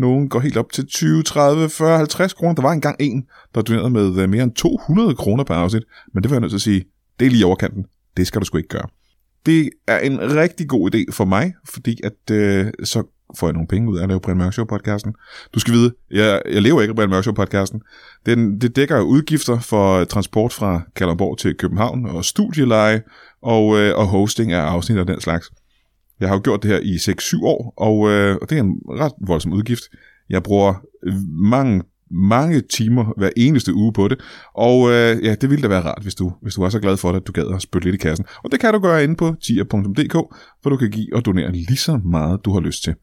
Speaker 1: nogen går helt op til 20, 30, 40, 50 kroner. Der var engang en, der donerede med øh, mere end 200 kroner per afsnit, men det var jeg nødt til at sige, det er lige i overkanten. Det skal du sgu ikke gøre. Det er en rigtig god idé for mig, fordi at øh, så får jeg nogle penge ud af at lave Brian Mørk Show podcasten. Du skal vide, jeg, jeg lever ikke af Brian Mørk Show podcasten. Den, det dækker udgifter for transport fra Kalundborg til København og studieleje og, øh, og hosting af afsnit og den slags. Jeg har jo gjort det her i 6-7 år, og, øh, og det er en ret voldsom udgift. Jeg bruger mange, mange timer hver eneste uge på det, og øh, ja, det ville da være rart, hvis du, hvis du var så glad for det, at du gad at spytte lidt i kassen. Og det kan du gøre inde på tier.dk, hvor du kan give og donere lige så meget, du har lyst til.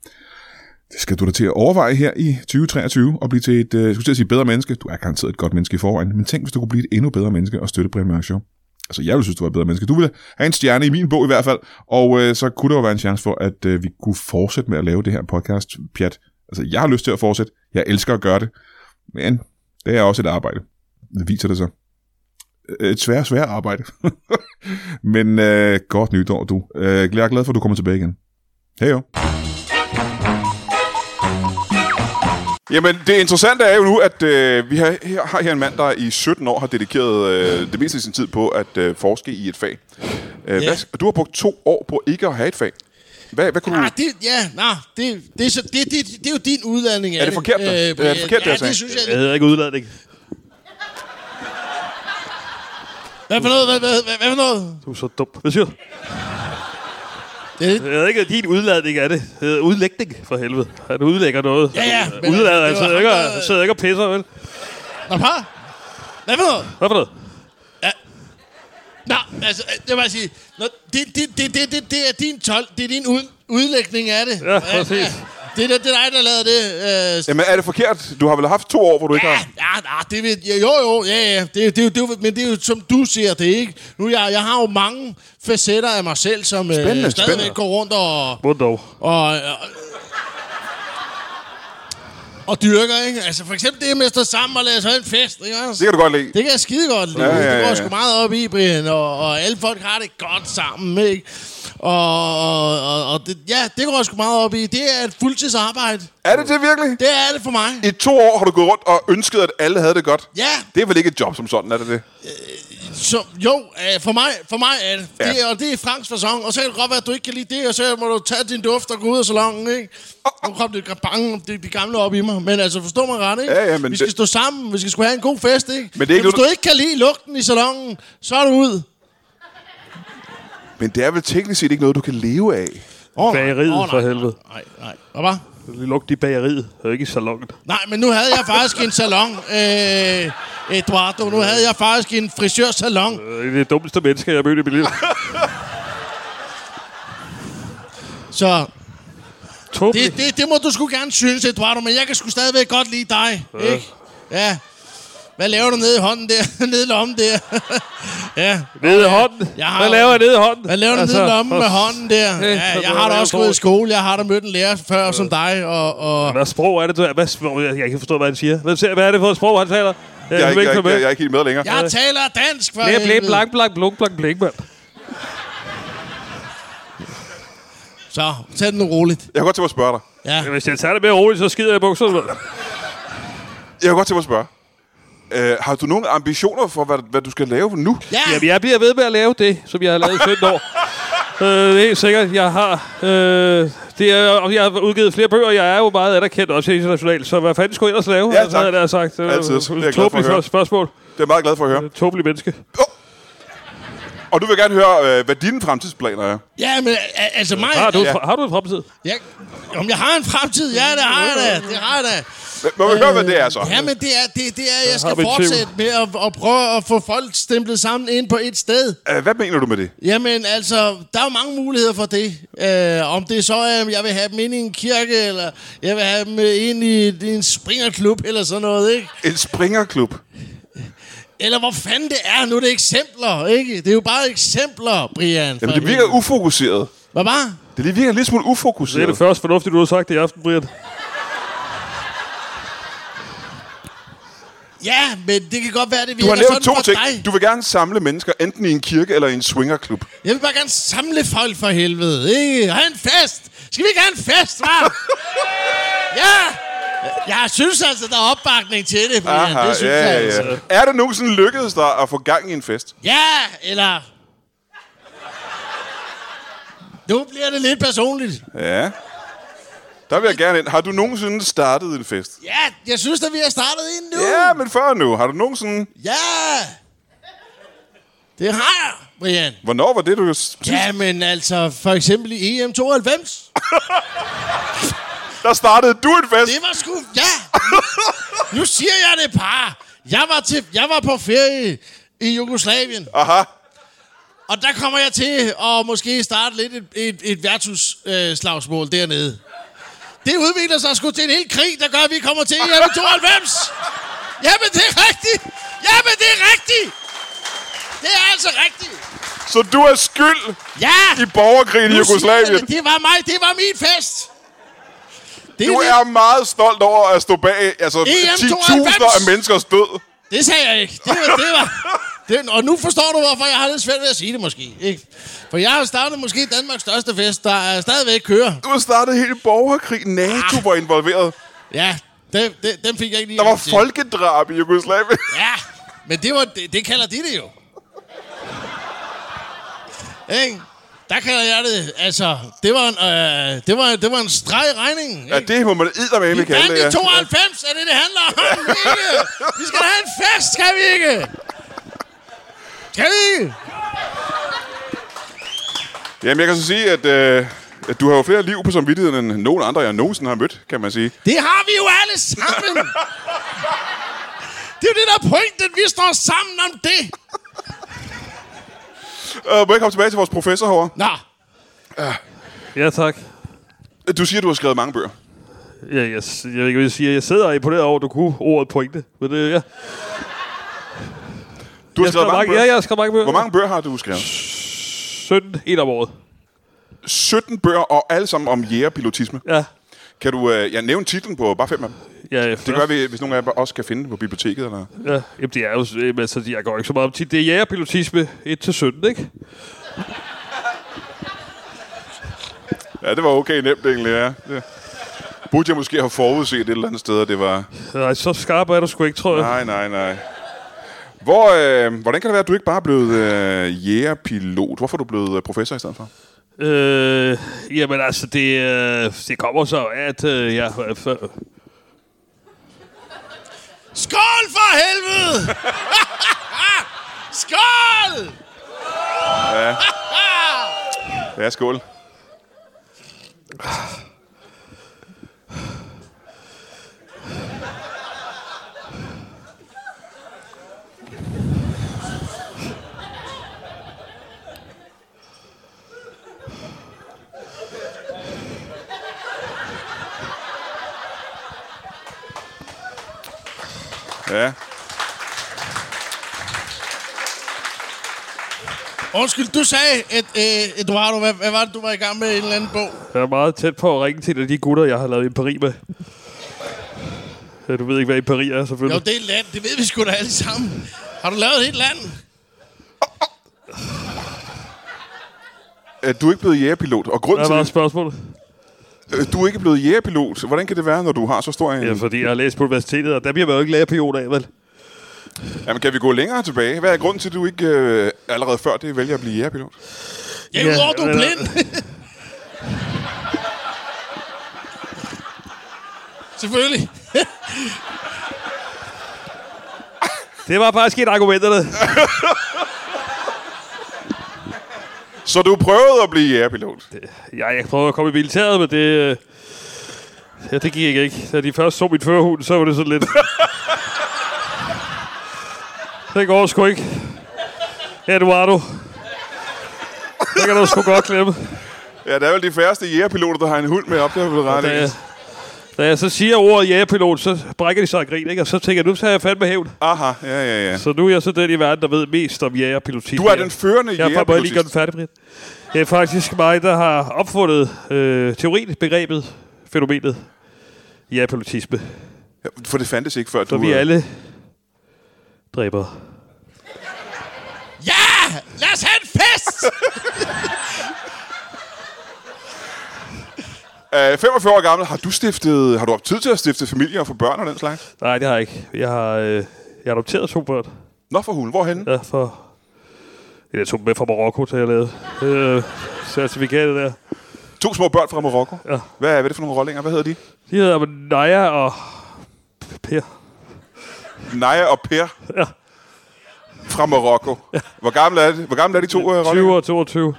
Speaker 1: Det skal du da til at overveje her i 2023 og blive til et, øh, jeg skulle til at sige, bedre menneske. Du er garanteret et godt menneske i forvejen, men tænk, hvis du kunne blive et endnu bedre menneske og støtte Brian Mørk Show. Altså, jeg ville synes, du var et bedre menneske. Du ville have en stjerne i min bog i hvert fald, og øh, så kunne der jo være en chance for, at øh, vi kunne fortsætte med at lave det her podcast, pjat. Altså, jeg har lyst til at fortsætte. Jeg elsker at gøre det. Men det er også et arbejde. Det viser det sig.
Speaker 4: Øh,
Speaker 1: Et svært, svært arbejde. men øh, godt nytår, du. Øh, jeg er glad for, at du kommer tilbage igen. Hej jo.
Speaker 4: Jamen, det interessante er jo nu, at øh, vi har her, har her en mand, der i 17 år har dedikeret øh, det meste af sin tid på at øh, forske i et fag. Øh,
Speaker 2: Ja.
Speaker 4: yeah. hvad, du har brugt to år på ikke at have et fag. Hvad, hvad kunne
Speaker 2: Ah,
Speaker 4: du...
Speaker 2: det, ja, nej, det, det, er så, det, det, det, er jo din udladning af
Speaker 4: Er det forkert, det? Er det
Speaker 2: Brian.
Speaker 4: forkert, det, jeg
Speaker 2: ja,
Speaker 4: sagde?
Speaker 2: det synes jeg.
Speaker 3: Jeg
Speaker 2: det-
Speaker 3: hedder ikke udladning.
Speaker 2: Hvad for noget? Hvad, hvad, hvad, hvad for noget?
Speaker 3: Du er så dum. Hvad siger du?
Speaker 2: Det-
Speaker 3: Jeg hedder ikke din udladning af det. Det hedder udlægning, for helvede. Han udlægger noget.
Speaker 2: Ja, ja, men
Speaker 3: Udlader,
Speaker 2: det
Speaker 3: han
Speaker 2: var
Speaker 3: sidder ikke,
Speaker 2: ham,
Speaker 3: og-
Speaker 2: der-
Speaker 3: sidder ikke og pisser, vel?
Speaker 2: Nå, pa? Hvad for noget?
Speaker 3: Hvad for noget?
Speaker 2: Nå, altså, øh, det var at sige, nå, det, det, det, det, det, det er din tol, det er din ud, udlægning af det.
Speaker 3: Ja, præcis.
Speaker 2: det, er, det er dig, der lavede det. Øh, s-
Speaker 4: Jamen, er det forkert? Du har vel haft to år, hvor du ikke
Speaker 2: ja,
Speaker 4: har...
Speaker 2: ja, ja, det ved, ja, jo, jo, ja, ja, det, er jo- det, er jo- det, er jo- men det er jo, som du ser det, ikke? Nu, jeg, jeg har jo mange facetter af mig selv, som øh,
Speaker 4: Spændende,
Speaker 2: stadigvæk
Speaker 4: spændende.
Speaker 2: går rundt og,
Speaker 3: Hvor dog?
Speaker 2: og, og, og dyrker, ikke? Altså, for eksempel det med at stå sammen og lade sig have en fest, ikke? også?
Speaker 4: Det kan du godt lide.
Speaker 2: Det kan jeg skide godt lide.
Speaker 4: Ja,
Speaker 2: Ja,
Speaker 4: ja,
Speaker 2: ja, ja. Det
Speaker 4: ja.
Speaker 2: går jeg sgu meget op i, Brian, og, og alle folk har det godt sammen, ikke? Og, og, og, og det, ja, det går jeg sgu meget op i. Det er et fuldtidsarbejde.
Speaker 4: Er det det virkelig?
Speaker 2: Det er det for mig.
Speaker 4: I to år har du gået rundt og ønsket, at alle havde det godt.
Speaker 2: Ja,
Speaker 4: Det er vel ikke et job som sådan, er det det?
Speaker 2: så, jo, øh, for mig, for mig er det.
Speaker 4: Ja.
Speaker 2: det er, og det er Franks fasong. Og så kan det godt være, at du ikke kan lide det, og så må du tage din duft og gå ud af salongen, ikke? Nu kom det bange, det de gamle op i mig. Men altså, forstå mig ret, ikke?
Speaker 4: Ja, ja, men
Speaker 2: vi skal
Speaker 4: det-
Speaker 2: det... stå sammen, vi skal sgu have en god fest, ikke?
Speaker 4: det er ikke
Speaker 2: Hvis
Speaker 4: noget,
Speaker 2: du
Speaker 4: du-
Speaker 2: ikke kan lide lugten i salongen, så er du ud.
Speaker 4: Men det er vel teknisk set ikke noget, du kan leve af.
Speaker 2: Oh,
Speaker 3: Bageriet, for helvede.
Speaker 2: Nej, nej. Hvad var?
Speaker 3: Luk de bageriet, og ikke i salongen.
Speaker 2: Nej, men nu havde jeg faktisk en salon, øh, Eduardo. Nu havde jeg faktisk en frisørsalon.
Speaker 3: Øh, Det er det dummeste menneske, jeg har mødt i mit liv.
Speaker 2: Så
Speaker 3: Tåbelig.
Speaker 2: det, det, det må du sgu gerne synes, Eduardo, men jeg kan sgu stadigvæk godt lide dig. Ja. Ikke? Ja. Hvad laver du nede i hånden der? nede i lommen der? ja.
Speaker 3: Nede i hånden.
Speaker 2: Jeg har
Speaker 3: Hvad
Speaker 2: jo-
Speaker 3: laver jeg nede i hånden?
Speaker 2: Hvad laver du nede i lommen med
Speaker 3: Altså, og-
Speaker 2: hånden der?
Speaker 3: Øh,
Speaker 2: Ja,
Speaker 3: så
Speaker 2: jeg har
Speaker 3: må
Speaker 2: da
Speaker 3: du lave
Speaker 2: også gået i
Speaker 3: sprog.
Speaker 2: skole. Jeg har da mødt en lærer før som dig, og... og
Speaker 3: Hvad sprog er det? du- Hvad, sprog- jeg kan ikke forstå, hvad han siger. Hvad, siger- hvad er det for et sprog, han taler? Jeg,
Speaker 4: Jeg er,
Speaker 3: kan
Speaker 4: ikke, jeg, er
Speaker 3: følge
Speaker 4: ikke,
Speaker 3: med.
Speaker 4: jeg, jeg er ikke helt med længere. Ja.
Speaker 2: jeg taler dansk for
Speaker 3: Blæ, blæ,
Speaker 2: helvede.
Speaker 3: blank, blank, blunk, blank, blank, mand.
Speaker 2: Så, tag den nu roligt.
Speaker 4: Jeg kan godt til at spørge dig.
Speaker 2: Ja.
Speaker 3: Hvis jeg tager det mere roligt, så skider jeg i bukserne. mand.
Speaker 1: Jeg kunne godt tænke mig at spørge. Øh, har du nogle ambitioner for, hvad, hvad du skal lave nu?
Speaker 2: Ja.
Speaker 3: Jamen, jeg bliver ved med at lave det, som jeg har lavet i 15 år. Øh, det er helt sikkert, jeg har... Øh, det er, og jeg har udgivet flere bøger, jeg er jo meget anerkendt også internationalt, så hvad fanden skulle jeg ellers lave? Altså,
Speaker 1: Ja, tak.
Speaker 3: havde jeg nær sagt. Det var
Speaker 1: Altid. Det er jeg glad for at
Speaker 3: tåbeligt
Speaker 1: høre.
Speaker 3: spørgsmål.
Speaker 1: Det er jeg meget glad for at høre.
Speaker 3: Tåbelig menneske.
Speaker 1: Og du vil jeg gerne høre, øh, hvad dine fremtidsplaner er.
Speaker 2: Ja, men al- altså mig...
Speaker 3: Har du,
Speaker 1: Ja.
Speaker 3: ja. har du en fremtid?
Speaker 2: Jeg, om jeg har en fremtid? Ja, det har jeg da. Det har jeg da.
Speaker 1: Må vi høre, hvad det er så?
Speaker 2: Ja, men det er, det, det er jeg
Speaker 3: har
Speaker 2: skal
Speaker 3: vi en tvivl.
Speaker 2: fortsætte med at, at prøve at få folk stemplet sammen ind på et sted.
Speaker 1: Øh, hvad mener du med det?
Speaker 2: Jamen, altså, der er jo mange muligheder for det. Øh, om det er så er, at jeg vil have dem ind i en kirke, eller jeg vil have dem øh, ind i, i en springerklub, eller sådan noget, ikke?
Speaker 1: En springerklub.
Speaker 2: Eller hvor fanden det er. Nu er det eksempler, ikke? Det er jo bare eksempler, Brian.
Speaker 1: Jamen, det virker ufokuseret.
Speaker 2: Hvad var?
Speaker 1: Det lige virker en lille smule
Speaker 3: Det er
Speaker 1: ufokuseret.
Speaker 3: det første fornuftige, du har sagt i aften, Brian.
Speaker 2: Ja, men det kan godt være, det
Speaker 1: Du
Speaker 2: virker
Speaker 1: har
Speaker 2: sådan
Speaker 1: nævnt to
Speaker 2: for
Speaker 1: ting.
Speaker 2: dig.
Speaker 1: Du vil gerne samle mennesker, enten i en kirke eller i en swingerklub.
Speaker 2: Jeg vil bare gerne samle folk for helvede, ikke? Have en fest! Skal vi ikke have en fest, hva'? ja! Jeg synes altså, der er opbakning til det, Brian. Aha, det synes ja, jeg altså. Ja.
Speaker 1: Er det nogensinde lykkedes dig at få gang i en fest?
Speaker 2: ja, eller... Nu bliver det lidt personligt.
Speaker 1: Ja. Der vil jeg gerne ind. Har du nogensinde startet en fest?
Speaker 2: Ja, jeg synes at vi har startet ind nu.
Speaker 1: Ja, men før nu. Har du nogensinde...
Speaker 2: ja. Det har jeg, Brian.
Speaker 1: Hvornår var det, du... s-
Speaker 2: Ja, men altså, for eksempel i EM92.
Speaker 1: Der startede du en fest?
Speaker 2: Det var sgu... Ja! Nu siger jeg det bare. Jeg var, til, jeg var på ferie i Jugoslavien,
Speaker 1: Aha.
Speaker 2: og der kommer jeg til at måske starte lidt et, et, et værtshusslagsmål øh, slagsmål dernede. Det udvikler sig sgu til en hel krig, der gør, at vi kommer til i 92. Jamen, det er rigtigt! Jamen, det er rigtigt! Det er altså rigtigt!
Speaker 1: Så du er skyld
Speaker 2: Ja!
Speaker 1: i borgerkrigen i
Speaker 2: Nu siger jeg
Speaker 1: Jugoslavien.
Speaker 2: det. Det var mig, det var min fest! Det,
Speaker 1: Du
Speaker 2: lidt-
Speaker 1: er meget stolt over at stå bag altså,
Speaker 2: EM92.
Speaker 1: 10.000 af menneskers død.
Speaker 2: Det sagde jeg ikke. Det var, det var, det, og nu forstår du, hvorfor jeg har lidt svært ved at sige det måske. Ikke? For jeg har startet måske Danmarks største fest, der er stadigvæk kører.
Speaker 1: Du har startet hele borgerkrigen. NATO
Speaker 2: Ah.
Speaker 1: var involveret.
Speaker 2: Ja, det, det, dem fik jeg ikke lige.
Speaker 1: Der var
Speaker 2: til.
Speaker 1: folkedrab i Jugoslavien.
Speaker 2: Ja, men det, var, det, det kalder de det jo. Ikke? Der kalder jeg det, altså, det var en, øh, det var, det var en streg i regningen. Ikke?
Speaker 1: Ja, det må man eddermame
Speaker 2: Vi
Speaker 1: kalde
Speaker 2: vandt
Speaker 1: det.
Speaker 2: i
Speaker 1: Ja.
Speaker 2: 92, er det det handler om, ikke? Vi skal da have en fest, skal vi ikke? Skal vi ikke?
Speaker 1: Jamen, jeg kan så sige, at, øh, at du har jo flere liv på samvittigheden, end nogen andre, jeg nogensinde har mødt, kan man sige.
Speaker 2: Det har vi jo alle sammen! Det er jo det, der er pointen. Vi står sammen om det.
Speaker 1: Øh, må jeg komme tilbage til vores professor herovre?
Speaker 2: Nå,
Speaker 3: Ja, tak.
Speaker 1: Du siger, at du har skrevet mange bøger.
Speaker 3: Ja, jeg, jeg, jeg, jeg, jeg, jeg sidder og imponeret over, at du kunne ordet pointe. Men det, ja. jeg,
Speaker 1: Du har
Speaker 3: jeg
Speaker 1: skrevet mange bøger.
Speaker 3: ja, jeg har skrevet mange bøger.
Speaker 1: Hvor mange bøger har du skrevet?
Speaker 3: 17, en om året.
Speaker 1: 17 bøger, og alle sammen om jægerpilotisme.
Speaker 3: Ja.
Speaker 1: Kan du øh, ja, nævne titlen på bare fem af dem?
Speaker 3: Ja,
Speaker 1: Det gør vi, hvis nogen af jer også kan finde den på biblioteket. Eller?
Speaker 3: Ja, jamen, det er jo... Jamen, altså, jeg går ikke så meget om tit. Det er jægerpilotisme 1-17, ikke?
Speaker 1: Ja, det var okay nemt egentlig, ja. Det. Burde jeg måske have forudset et eller andet sted, at det var...
Speaker 3: Nej, så skarp er du sgu ikke, tror jeg.
Speaker 1: Nej, nej, nej. Hvor, øh, hvordan kan det være, at du ikke bare er blevet øh, jægerpilot? Hvorfor er du blevet øh, professor i stedet for?
Speaker 3: Øh, jamen, altså, det, øh, det kommer så af, at øh, jeg... Øh,
Speaker 2: skål for helvede! skål!
Speaker 1: Ja, skål. Ja.
Speaker 2: Undskyld, du sagde, at øh, Eduardo, hvad, hvad var det, du var i gang med? En eller anden bog?
Speaker 3: jeg er meget tæt på at ringe til en af de gutter, jeg har lavet i Paris med. Ja, Du ved ikke, hvad i Paris er,
Speaker 2: Jo,
Speaker 3: selvfølgelig.
Speaker 2: det er et land. Det ved vi sgu da alle sammen. Har du lavet et helt land?
Speaker 1: Øh, Du er ikke blevet jægerpilot, og
Speaker 3: Hvad
Speaker 1: grunden til
Speaker 3: var
Speaker 1: det,
Speaker 3: spørgsmålet?
Speaker 1: øh, du er ikke blevet jægerpilot. Hvordan kan det være, når du har så stor en...
Speaker 3: Ja, fordi jeg har læst på universitetet, og der bliver man jo ikke lærerpilot af, vel?
Speaker 1: Jamen, kan vi gå længere tilbage? Hvad er grunden til, at du ikke øh, allerede før det vælger at blive jægerpilot?
Speaker 2: Ja, udover du er
Speaker 3: eller-
Speaker 2: blind. Selvfølgelig.
Speaker 3: Det var faktisk et af argumenterne.
Speaker 1: Så du prøvede at blive jægerpilot?
Speaker 3: Ja, jeg prøvede at komme i militæret, men det... øh, Ja, det gik ikke. Da de først så mit førerhund, så var det sådan lidt... det går sgu ikke. Eduardo. Det kan du sgu godt klemme.
Speaker 1: Ja, der er vel de færreste jægerpiloter, der har en hund med op der på det
Speaker 3: Da jeg,
Speaker 1: rette.
Speaker 3: da jeg så siger ordet jægerpilot, så brækker de sig og griner, ikke? Og så tænker jeg, nu tager jeg fandme hævn.
Speaker 1: Aha, ja, ja, ja.
Speaker 3: Så nu er jeg så den i verden, der ved mest om jægerpilotik.
Speaker 1: Du er den førende
Speaker 3: Jeg får bare lige gøre den
Speaker 1: jægerpilotist.
Speaker 3: færdig, Britt. Det er faktisk mig, der har opfundet øh, teorien, begrebet, fænomenet jægerpilotisme.
Speaker 1: Ja, for det fandtes ikke før,
Speaker 3: Så
Speaker 1: du...
Speaker 3: vi
Speaker 1: øh,
Speaker 3: alle dræber.
Speaker 2: Ja! Lad os have en fest!
Speaker 1: Øh, 45 år gammel, har du stiftet, har du haft tid til at stifte familie og få børn og den slags?
Speaker 3: Nej, det har jeg ikke. Jeg har, øh, jeg har adopteret to børn.
Speaker 1: Nå for hun, hvorhen?
Speaker 3: Ja, for... Eller jeg tog dem med fra Marokko, til jeg lavede øh, certifikatet der.
Speaker 1: To små børn fra Marokko.
Speaker 3: Ja.
Speaker 1: Hvad, er, hvad er det for nogle rollinger? Hvad hedder de?
Speaker 3: De hedder Naja og Per.
Speaker 1: Naja og Per.
Speaker 3: Ja.
Speaker 1: Fra Marokko. Ja. Hvor gamle er de, hvor gamle er de to uh, rollinger?
Speaker 3: 20 og 22.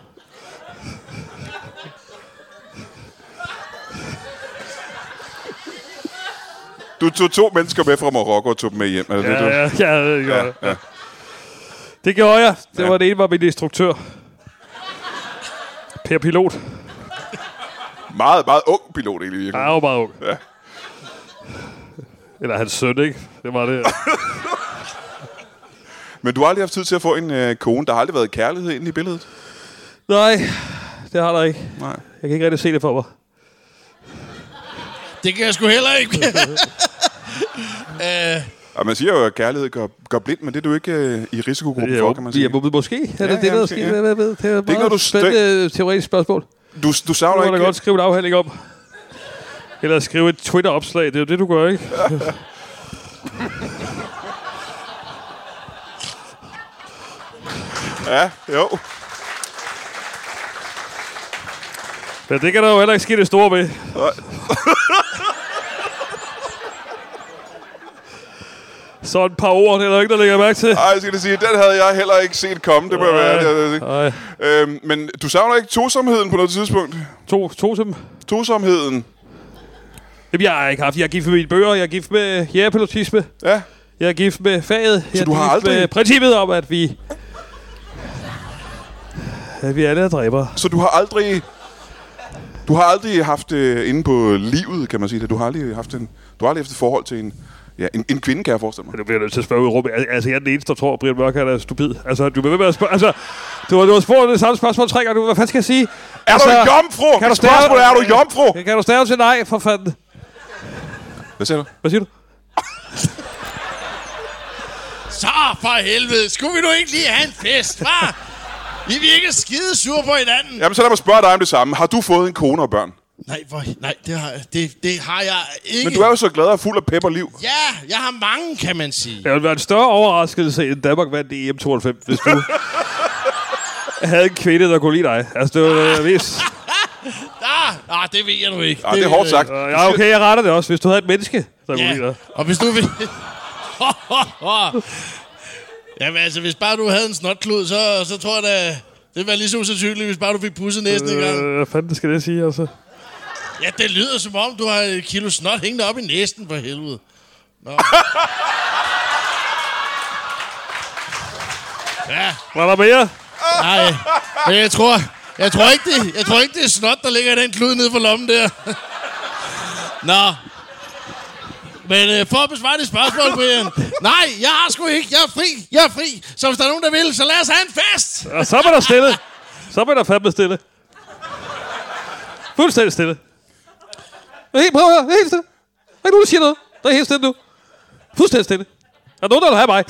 Speaker 1: Du tog to mennesker med fra Marokko og tog dem med hjem. Er det det,
Speaker 3: Ja,
Speaker 1: du?
Speaker 3: ja, ja, det gjorde jeg.
Speaker 1: ja.
Speaker 3: Det gjorde jeg. Det
Speaker 1: Ja.
Speaker 3: var det ene var min instruktør. Per Pilot.
Speaker 1: Meget, meget ung pilot egentlig. virkelig.
Speaker 3: Han er jo meget ung.
Speaker 1: Ja.
Speaker 3: Eller hans søn, ikke? Det var det.
Speaker 1: Men du har aldrig haft tid til at få en øh, kone. Der har aldrig været kærlighed inde i billedet.
Speaker 3: Nej, det har der ikke.
Speaker 1: Nej.
Speaker 3: Jeg kan ikke rigtig se det for mig.
Speaker 2: Det kan jeg sgu heller ikke. øh,
Speaker 1: Og man siger jo, at kærlighed gør, gør blind, men det er du ikke øh, i risikogruppen for, kan man sige.
Speaker 3: ja, må- måske. Er det
Speaker 1: Ja,
Speaker 3: ja,
Speaker 1: ja,
Speaker 3: det, der er
Speaker 1: måske,
Speaker 3: sket?
Speaker 1: ja.
Speaker 3: Hvad- hvad ved? Det er et
Speaker 1: ikke
Speaker 3: meget
Speaker 1: noget, du
Speaker 3: spændende teoretisk spørgsmål. Det
Speaker 1: Du, du savner
Speaker 3: må du
Speaker 1: ikke...
Speaker 3: godt skrive en afhandling om. Eller skrive et Twitter-opslag. Det er jo det, du gør, ikke?
Speaker 1: Ja, jo.
Speaker 3: Men det kan der jo heller ikke ske det store ved. Så et par ord, det er der ikke, der lægger mærke til.
Speaker 1: Ej, jeg skal lige sige, den havde jeg heller ikke set komme. Det må jeg være. Det, det, det.
Speaker 3: Nej.
Speaker 1: Øhm, men du savner ikke tosomheden på noget tidspunkt?
Speaker 3: To, to til dem.
Speaker 1: Tosomheden?
Speaker 3: Jamen, jeg har ikke haft. Jeg er gift med mine bøger. Jeg er gift med jægerpilotisme.
Speaker 1: Ja.
Speaker 3: Jeg er gift med faget. Så jeg er
Speaker 1: du har
Speaker 3: gift
Speaker 1: aldrig-
Speaker 3: med princippet om, at vi... At vi alle er dræber.
Speaker 1: Så du har aldrig... Du har aldrig haft øh, inde på livet, kan man sige det. Du har aldrig haft en, du har aldrig haft et forhold til en, ja, en, en kvinde, kan jeg forestille mig.
Speaker 3: Nu bliver jeg nødt til at spørge ud i rummet. Al- Altså, jeg er den eneste, der tror, at Brian Mørk er stupid. Altså, du bliver ved med at spørge... Altså, du har, du har spurgt det samme spørgsmål tre gange. nu. Hvad fanden skal jeg sige?
Speaker 1: Er altså, du en jomfru?
Speaker 3: kan
Speaker 1: Kan du
Speaker 3: du
Speaker 1: Spørgsmålet er, er du
Speaker 3: stave-
Speaker 1: jomfru?
Speaker 3: Kan du stave til nej, for fanden?
Speaker 1: Hvad siger du?
Speaker 3: Hvad siger du?
Speaker 2: så for helvede. Skulle vi nu ikke lige have en fest, hva'? I virker skide sure på hinanden.
Speaker 1: Jamen, så lad mig spørge dig om det samme. Har du fået en kone og børn?
Speaker 2: Nej, hvor, nej det, har, det, det har jeg ikke.
Speaker 1: Men du er jo så glad og fuld af pep og liv.
Speaker 2: Ja, jeg har mange, kan man sige.
Speaker 3: Det ville være en større overraskelse, end Danmark vandt i E EM92, hvis du havde en kvinde, der kunne lide dig. Altså, det var vist.
Speaker 2: Ah, ah, det ved jeg nu ikke.
Speaker 1: Ej, det
Speaker 2: ved
Speaker 1: er hårdt
Speaker 2: jeg
Speaker 1: sagt.
Speaker 3: Ja, okay, jeg retter det også, hvis du havde et menneske, der kunne
Speaker 2: ikke.
Speaker 3: lide
Speaker 2: Ja,
Speaker 3: dig.
Speaker 2: og hvis du vil... Jamen altså, hvis bare du havde en snotklud, så, så tror jeg da... Det ville være lige så usandsynligt, hvis bare du fik pusset næsten øh. gang.
Speaker 3: Øh, hvad fanden skal det sige, altså?
Speaker 2: Ja, det lyder som om, du har et kilo snot hængende op i næsten, for helvede. Nå. ja,
Speaker 3: Var der mere?
Speaker 2: nej. Men jeg tror, jeg tror, ikke, det, jeg tror ikke, det er snot, der ligger i den klud nede for lommen der. Nå. Men øh, for at besvare dit spørgsmål, Brian. Nej, jeg har sgu ikke. Jeg er fri. Jeg er fri. Så hvis der er nogen, der vil, så lad os have en fest.
Speaker 3: Og så var der stille. Så var der fandme stille. Fuldstændig stille. Helt, prøv at høre, helt stille. Der er ikke nogen, der siger noget. Der er helt stille nu. Fuldstændig stille. Er der nogen, der vil have mig?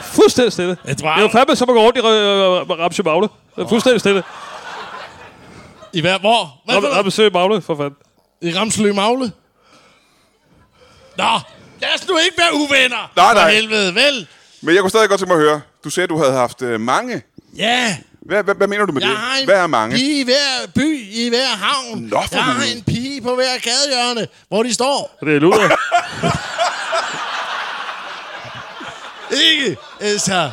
Speaker 3: Fuldstændig stille.
Speaker 2: Jeg
Speaker 3: Det
Speaker 2: tror-
Speaker 3: øh, er jo fandme, som at gå rundt i øh, Ramsje Magle. Fuldstændig stille.
Speaker 2: I hver... Hvor? Hvad
Speaker 3: Op,
Speaker 2: for noget?
Speaker 3: op besøg Magle, for fanden.
Speaker 2: I Ramslø Magle? Nå, lad os nu ikke være uvenner.
Speaker 1: Nej,
Speaker 2: For
Speaker 1: nej.
Speaker 2: helvede, vel?
Speaker 1: Men jeg kunne stadig godt tænke mig at høre. Du sagde, at du havde haft øh, mange.
Speaker 2: Ja,
Speaker 1: Hvad, hvad, hvad mener du med
Speaker 2: jeg
Speaker 1: det?
Speaker 2: har en
Speaker 1: Hvad er mange?
Speaker 2: pige i hver by, i hver havn.
Speaker 1: Nå, for
Speaker 2: jeg har
Speaker 1: helvede.
Speaker 2: en pige på hver gadehjørne, hvor de står.
Speaker 3: Det er luder.
Speaker 2: Ikke? Altså,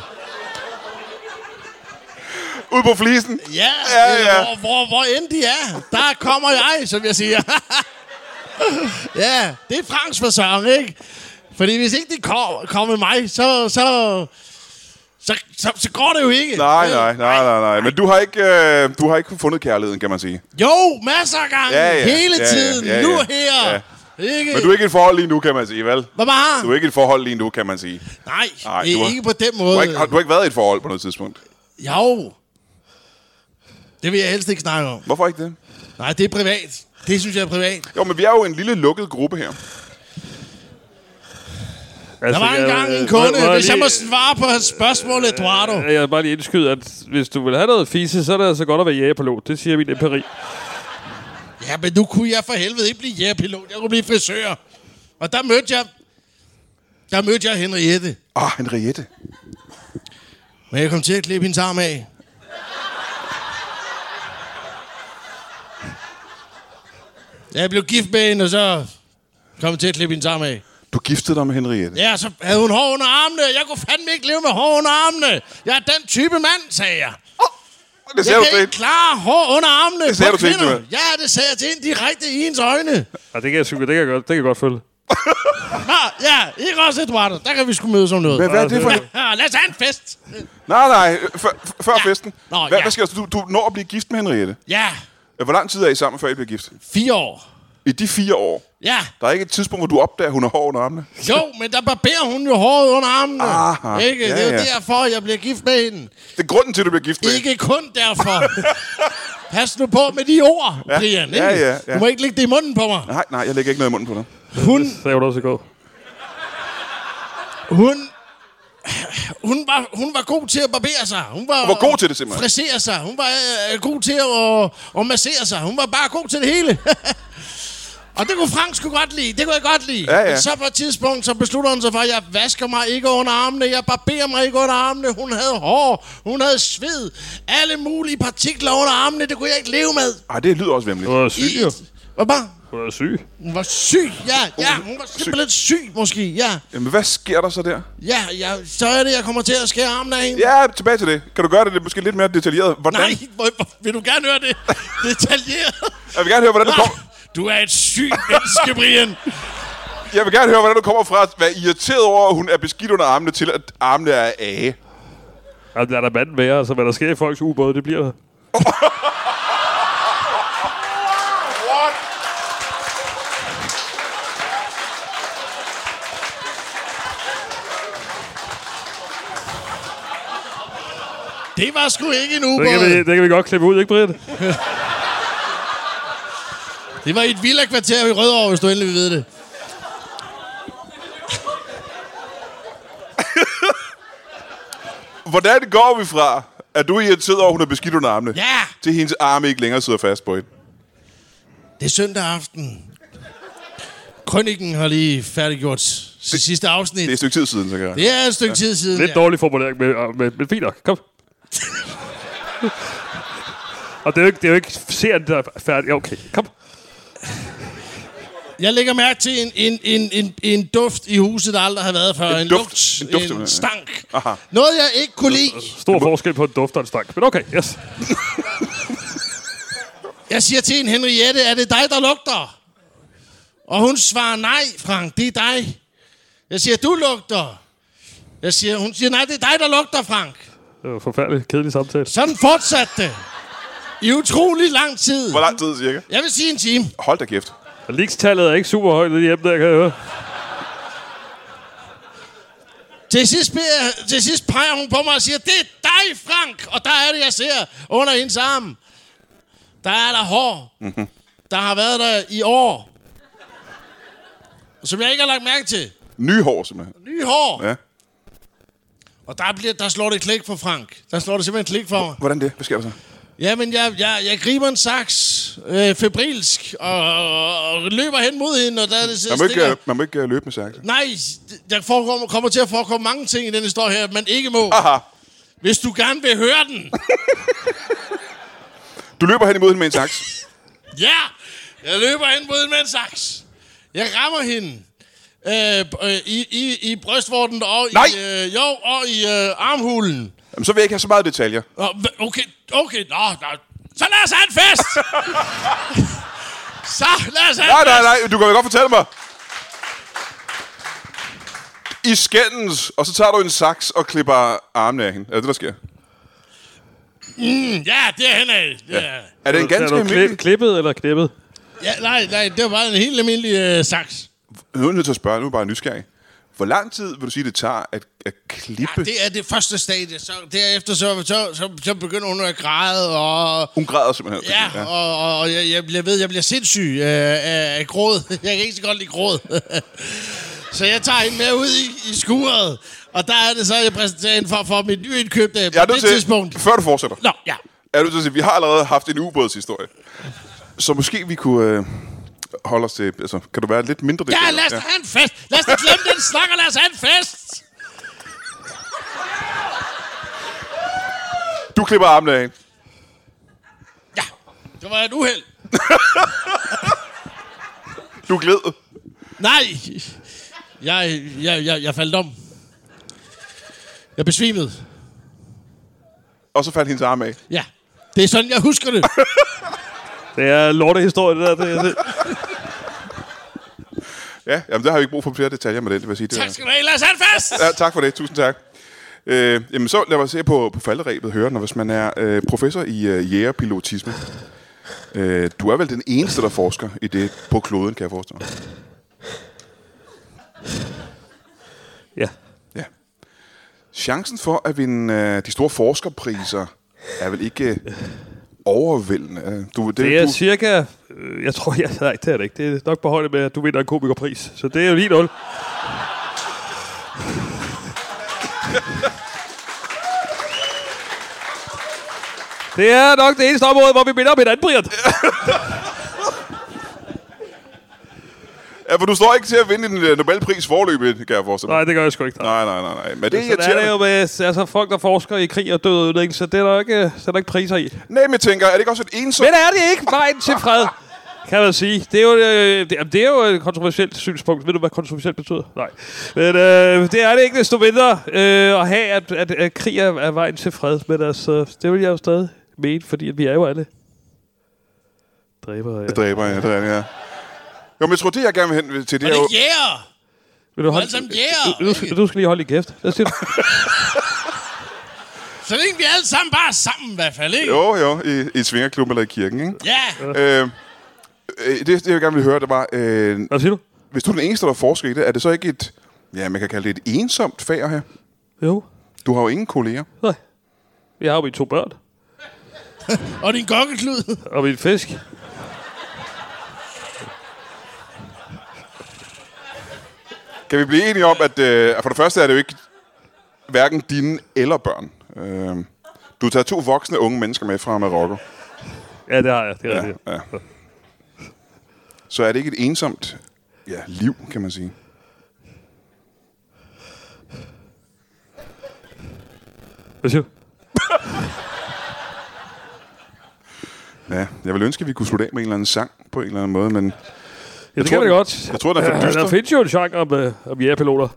Speaker 1: Ud på flisen?
Speaker 2: ja,
Speaker 1: Ja,
Speaker 2: øh,
Speaker 1: ja.
Speaker 2: Hvor, hvor, hvor end de er, der kommer jeg, som jeg siger. ja, det er Franks fasong, ikke? Fordi hvis ikke de kommer, kommer med mig, så, så, så, så, så går det jo ikke.
Speaker 1: Nej, nej, nej, nej, nej. Men du har ikke, øh, du har ikke fundet kærligheden, kan man sige.
Speaker 2: Jo, masser af gange.
Speaker 1: Ja, ja.
Speaker 2: Hele
Speaker 1: Ja, ja.
Speaker 2: tiden.
Speaker 1: Ja, ja.
Speaker 2: Nu og her.
Speaker 1: Ja.
Speaker 2: Ikke?
Speaker 1: Men du er ikke i et forhold lige nu, kan man sige, vel?
Speaker 2: Hvad var?
Speaker 1: Du er ikke i et forhold lige nu, kan man sige.
Speaker 2: Nej,
Speaker 1: Nej,
Speaker 2: det
Speaker 1: du
Speaker 2: er
Speaker 1: har-
Speaker 2: ikke på den
Speaker 1: Du
Speaker 2: måde.
Speaker 1: har ikke, har, du har ikke været i et forhold på noget tidspunkt.
Speaker 2: Jo. Det vil jeg helst ikke snakke om.
Speaker 1: Hvorfor ikke det?
Speaker 2: Nej, det er privat. Det synes jeg er privat.
Speaker 1: Jo, men vi er jo en lille lukket gruppe her.
Speaker 2: Der
Speaker 3: Altså,
Speaker 2: var
Speaker 3: jeg-
Speaker 2: engang
Speaker 1: øh,
Speaker 2: en
Speaker 3: jeg-
Speaker 2: kunde,
Speaker 3: jeg
Speaker 2: hvis jeg må
Speaker 3: lige-
Speaker 2: svare på hans spørgsmål, Eduardo.
Speaker 3: Jeg vil bare lige indskyde, at hvis du vil have noget fise, så er det altså godt at være jægerpilot. Det siger min empiri.
Speaker 2: Ja, men nu kunne jeg for helvede ikke blive jægerpilot. Jeg kunne blive frisør. Og der mødte jeg... Der mødte jeg Henriette.
Speaker 1: Ah, Henriette.
Speaker 2: Men jeg kom til at klippe hendes arm af. Jeg blev gift med hende, og så kom jeg til at klippe hendes arm af.
Speaker 1: Du giftede dig med Henriette.
Speaker 2: Ja, så havde hun hår under armene. Jeg kunne fandme ikke leve med hår under armene. Jeg er den type mand, sagde jeg.
Speaker 1: Det ser
Speaker 2: Jeg
Speaker 1: du
Speaker 2: kan
Speaker 1: til.
Speaker 2: ikke klare hår under armene
Speaker 1: Det sagde
Speaker 2: på
Speaker 1: du til hende,
Speaker 2: kvinder.
Speaker 1: du.
Speaker 2: Ja, det sagde jeg til hende direkte i hendes øjne.
Speaker 3: Ja, det kan jeg, sgu- det kan jeg, godt, det kan jeg godt følge.
Speaker 2: Nå, ja, ikke også, Eduardo. Der kan vi sgu mødes om noget.
Speaker 1: Hvad, hvad er det for en...
Speaker 2: Ja, lad os have en fest.
Speaker 1: Nej, nej, før, før festen.
Speaker 2: Nå,
Speaker 1: Hvad,
Speaker 2: ja.
Speaker 1: hvad sker der? Du, du når at blive gift med Henriette.
Speaker 2: Ja,
Speaker 1: Hvor lang tid er I sammen, før I bliver gift?
Speaker 2: fire år.
Speaker 1: I de fire år.
Speaker 2: Ja,
Speaker 1: Der er ikke et tidspunkt, hvor du opdager, at hun har hår under armene.
Speaker 2: Jo, men der barberer hun jo håret under armene.
Speaker 1: Aha,
Speaker 2: ikke?
Speaker 1: ja,
Speaker 2: det er jo
Speaker 1: ja.
Speaker 2: derfor, jeg bliver gift med hende.
Speaker 1: Det er grunden til, at du bliver gift med.
Speaker 2: Ikke kun derfor. Pas nu på med de ord, ja. Brian. Ikke?
Speaker 1: ja, ja, ja.
Speaker 2: Du må ikke lægge det i munden på mig.
Speaker 1: Nej, nej, jeg lægger ikke noget i munden på dig.
Speaker 2: Hun,
Speaker 3: Så er du også i går.
Speaker 2: hun, hun, var, hun var god til at barbere sig. Hun var,
Speaker 1: var god til det, simpelthen.
Speaker 2: Frisere sig. Hun var øh, god til at, at massere sig. Hun var bare god til det hele. Og det kunne Frank sgu godt lide. Det kunne jeg godt lide.
Speaker 1: Ja, ja.
Speaker 2: Men så på et tidspunkt, så beslutter hun sig for, at jeg vasker mig ikke under armene. Jeg barberer mig ikke under armene. Hun havde hår. Hun havde sved. Alle mulige partikler under armene. Det kunne jeg ikke leve med.
Speaker 1: Ej, det lyder også vemmeligt.
Speaker 3: Du er syg, jo.
Speaker 2: Hvad bare?
Speaker 3: Du er syg.
Speaker 2: Hun var syg. Ja, ja. Hun var simpelthen syg, måske. Ja,
Speaker 1: Jamen, hvad sker der så der?
Speaker 2: ja, ja. Så er det, jeg kommer til at skære armen af hende.
Speaker 1: Ja, tilbage til det. Kan du gøre det lidt, måske lidt mere detaljeret? Hvordan?
Speaker 2: Nej, hvor- hvor- vil du gerne høre det? Detaljeret. Ah,
Speaker 1: Jeg vil gerne høre, hvordan du kommer...
Speaker 2: Du er et sygt menneske, Brian.
Speaker 1: Jeg vil gerne høre, hvordan du kommer fra at være irriteret over, at hun er beskidt under armene, til at armene er af.
Speaker 3: Jamen, lad der manden være. Altså, hvad der sker i folks ubåde, det bliver der.
Speaker 1: What?
Speaker 2: Det var sgu ikke en
Speaker 3: Det kan, vi,
Speaker 2: ubåd.
Speaker 3: det kan vi godt klippe ud, ikke, Brian?
Speaker 2: Det var i et villa-kvarter i Rødovre, hvis du endelig vil vide det.
Speaker 1: Hvordan går vi fra, at du er irriteret over, at hun er beskidt under armene,
Speaker 2: Ja,
Speaker 1: til hendes arme ikke længere sidder fast på hende?
Speaker 2: det er søndag aften. Krønningen har lige færdiggjort sit sidste afsnit.
Speaker 1: Det er et stykke tid siden, så kan jeg.
Speaker 2: Det er et stykke tid siden.
Speaker 3: Lidt
Speaker 2: ja.
Speaker 3: dårlig formulering, men, og- men, men fint nok. Kom. og det er jo ikke, det er jo ikke serien, der er færdig. Ja, Okay, kom.
Speaker 2: Jeg lægger mærke til en, en, en, en, en duft i huset, der aldrig har været før. En,
Speaker 1: duft. En
Speaker 2: lugt,
Speaker 1: duft,
Speaker 2: en,
Speaker 1: ja.
Speaker 2: en stank.
Speaker 1: Aha.
Speaker 2: Noget, jeg ikke kunne lide.
Speaker 3: Stor forskel på en duft og en stank. Men okay, yes.
Speaker 2: Jeg siger til en Henriette, er det dig, der lugter? Og hun svarer, nej, Frank, det er dig. Jeg siger, du lugter. Jeg siger, hun siger, nej, det er dig, der lugter, Frank.
Speaker 3: Det var en forfærdelig, kedelig samtale.
Speaker 2: Sådan fortsatte det. I utrolig lang tid.
Speaker 1: Hvor lang tid cirka?
Speaker 2: Jeg vil sige en time.
Speaker 1: Hold da kæft.
Speaker 3: Og Leaks-tallet er ikke super højt lige hjemme, der kan jeg høre.
Speaker 2: Til sidst, beder jeg- til sidst peger hun på mig og siger, det er dig, Frank. Og der er det, jeg ser under hendes arm. Der er der hår, mm-hmm. der har været der i år. Som jeg ikke har lagt mærke til.
Speaker 1: Nye hår, simpelthen.
Speaker 2: Nye hår.
Speaker 1: Ja.
Speaker 2: Og der, bliver, der slår det klik for Frank. Der slår det simpelthen klik for mig.
Speaker 1: Hvordan det? Hvad sker der så?
Speaker 2: Jamen, jeg, jeg, jeg griber en saks øh, febrilsk og, og, og løber hen mod hende, og der er det
Speaker 1: Man må ikke, øh, man må ikke øh, løbe med sakse.
Speaker 2: Nej, der forekommer, kommer til at forekomme mange ting i den historie her, man ikke må.
Speaker 1: Aha.
Speaker 2: Hvis du gerne vil høre den.
Speaker 1: Du løber hen imod hende med en saks.
Speaker 2: Ja! Jeg løber hen mod hende med en saks. Jeg rammer hende. Øh, b- øh, i, i, I brystvorten og
Speaker 1: Nej!
Speaker 2: i, øh, jo, og i øh, armhulen.
Speaker 1: Jamen, så vil jeg ikke have så meget detaljer.
Speaker 2: Nå, hva- Okay, okay, nå, nå. Så lad os have en fest! så lad os have
Speaker 1: Nej,
Speaker 2: en
Speaker 1: nej,
Speaker 2: fest!
Speaker 1: nej, du kan vel godt fortælle mig. I skændens, og så tager du en saks og klipper armene af hende. Er det det, der sker?
Speaker 2: Mm, Ja, det er henad. Ja. Ja.
Speaker 1: Er det en ganske
Speaker 3: er du kli-
Speaker 1: almindelig...
Speaker 3: klippet eller knippet?
Speaker 2: ja, nej, nej, det var bare en helt almindelig øh, saks.
Speaker 1: Nu er jeg nødt til at spørge, nu er jeg bare nysgerrig. Hvor lang tid vil du sige, det tager at, at klippe?
Speaker 2: Ja, det er det første stadie. Så derefter så, så, så, så begynder hun at græde, og
Speaker 1: Hun græder simpelthen.
Speaker 2: Ja, og, og, og jeg, jeg, jeg ved, jeg bliver sindssyg øh, af, af gråd. Jeg kan ikke så godt lide gråd. så jeg tager hende med ud i, i skuret, og der er det så, jeg præsenterer hende for, for mit nyindkøbte
Speaker 1: Jeg er
Speaker 2: på
Speaker 1: nødt
Speaker 2: det
Speaker 1: til,
Speaker 2: tidspunkt.
Speaker 1: før du fortsætter,
Speaker 2: Nå, ja.
Speaker 1: er du til at sige, vi har allerede haft en ubådshistorie. Så måske vi kunne øh, holde os til, altså, kan du være lidt mindre det?
Speaker 2: Ja, lad os da have en fest. Lad os da glemme den snak, og lad os have en fest.
Speaker 1: Du klipper armene af hende.
Speaker 2: Ja, det var et uheld.
Speaker 1: Du glæder.
Speaker 2: Nej, jeg, jeg, jeg, jeg faldt om. Jeg besvimede.
Speaker 1: Og så faldt hendes arme af.
Speaker 2: Ja, det er sådan, jeg husker det.
Speaker 3: Det er lortehistorie, det der. Det, det.
Speaker 1: Ja, jamen der har vi ikke brug for flere detaljer med den, det vil jeg sige. Det
Speaker 2: tak
Speaker 1: er-
Speaker 2: skal du have. Lad os have en fest.
Speaker 1: Ja, tak for det. Tusind tak. Øh, jamen så lad mig se på, på falderæbet høre, når hvis man er øh, professor i øh, jægerpilotisme. Øh, du er vel den eneste, der forsker i det på kloden, kan jeg forestille mig.
Speaker 3: Ja.
Speaker 1: Ja. Chancen for at vinde øh, de store forskerpriser er vel ikke øh, overvældende. Øh, Du, det,
Speaker 3: Det er
Speaker 1: du,
Speaker 3: cirka... øh, Jeg tror, jeg... Nej, det er det ikke. Det er nok på højde med, at du vinder en komikerpris. Så det er jo lige nul. Det er nok det eneste område, hvor vi minder om hinanden, Brian.
Speaker 1: ja, for du står ikke til at vinde en øh, Nobelpris forløbet, kan jeg forestille mig.
Speaker 3: Nej, det gør jeg sgu ikke.
Speaker 1: Nej, nej, nej. nej. Men det er
Speaker 3: Sådan er det jo
Speaker 1: irriterende.
Speaker 3: med altså, folk, der forsker i krig og død og ødelæggelse. Det er der ikke, det er der ikke priser i.
Speaker 1: Nej, men jeg tænker, er det ikke også et ensomt...
Speaker 3: Men er det ikke vejen til fred? Kan man sige. Det er, jo, øh, det, jamen, det er jo et kontroversielt synspunkt. Ved du, hvad kontroversielt betyder? Nej. Men øh, det er det ikke desto mindre øh, at have, at, at, at krig er, er vejen til fred. Men altså, det vil jeg jo stadig mene, fordi at vi er jo alle dræber. Ja.
Speaker 1: Dræber, ja, det er det, ja. Jo, men jeg tror, det jeg gerne vil hen til, det
Speaker 2: Og
Speaker 1: er
Speaker 2: det
Speaker 1: jo...
Speaker 2: er jæger.
Speaker 3: Vil du holde,
Speaker 2: alle sammen jæger,
Speaker 3: du, du, skal- du skal lige holde i kæft. Hvad siger du?
Speaker 2: Så længe vi alle sammen bare er sammen i hvert fald, ikke? Jo.
Speaker 1: Jo, jo, i, i svingerklubben eller i kirken, ikke?
Speaker 2: Ja,
Speaker 1: Øh, øh, det, det, jeg gerne ville høre, det var, øh,
Speaker 3: Hvad siger du?
Speaker 1: hvis du er den eneste, der forsker i det, er det så ikke et, ja, man kan kalde det et ensomt fag at have?
Speaker 3: Jo.
Speaker 1: Du har jo ingen kolleger.
Speaker 3: Nej. Jeg har jo mine to børn.
Speaker 2: og din gokkeklud.
Speaker 3: Og min fisk.
Speaker 1: Kan vi blive enige om, at øh, for det første er det jo ikke hverken dine eller børn. Øh, du har taget to voksne unge mennesker med fra Marokko.
Speaker 3: Ja, det har jeg. Det er rigtigt.
Speaker 1: Ja. Så er det ikke et ensomt ja, liv, kan man sige.
Speaker 3: Hvad siger du?
Speaker 1: Ja, jeg ville ønske, at vi kunne slutte af med en eller anden sang på en eller anden måde, men
Speaker 3: Ja, det
Speaker 1: tror,
Speaker 3: kan man
Speaker 1: den-
Speaker 3: godt.
Speaker 1: jeg tror, den er for
Speaker 3: Ja,
Speaker 1: dyster.
Speaker 3: Der findes jo en genre om, øh, om jægerpiloter.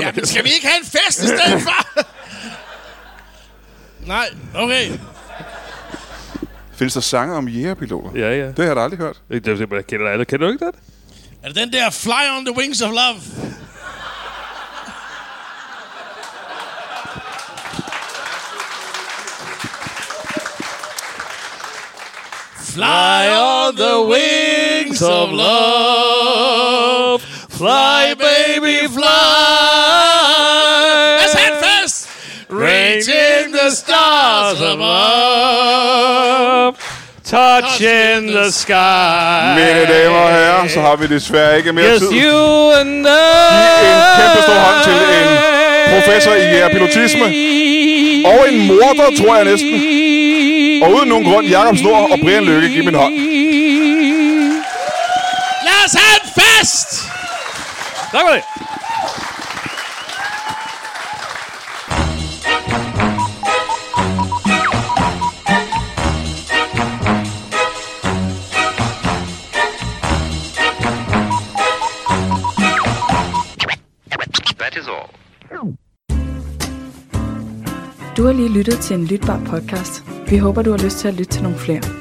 Speaker 2: Ja, men skal vi ikke have en fest i stedet for? Nej, okay.
Speaker 1: findes der sange om jægerpiloter?
Speaker 3: Ja, ja.
Speaker 1: Det har jeg da aldrig hørt.
Speaker 3: Det, det, det, kender, alle. kender du ikke det?
Speaker 2: Er det den der Fly on the Wings of Love? Fly on the wings of love. Fly, baby, fly. Let's have fest. Reaching the stars above.
Speaker 3: Touch in the sky.
Speaker 1: Mine damer og herrer, så har vi desværre ikke mere
Speaker 3: Yes,
Speaker 1: tid.
Speaker 3: you and I.
Speaker 1: en kæmpe stor hånd til en professor i jægerpilotisme. Og en morder, tror jeg næsten. Og uden nogen grund, Jakob Snor og Brian Lykke, giv min hånd.
Speaker 2: Lad os have en fest!
Speaker 3: Tak for det.
Speaker 5: That is all.
Speaker 6: Du har lige lyttet til en lytbar podcast. Vi håber, du har lyst til at lytte til nogle flere.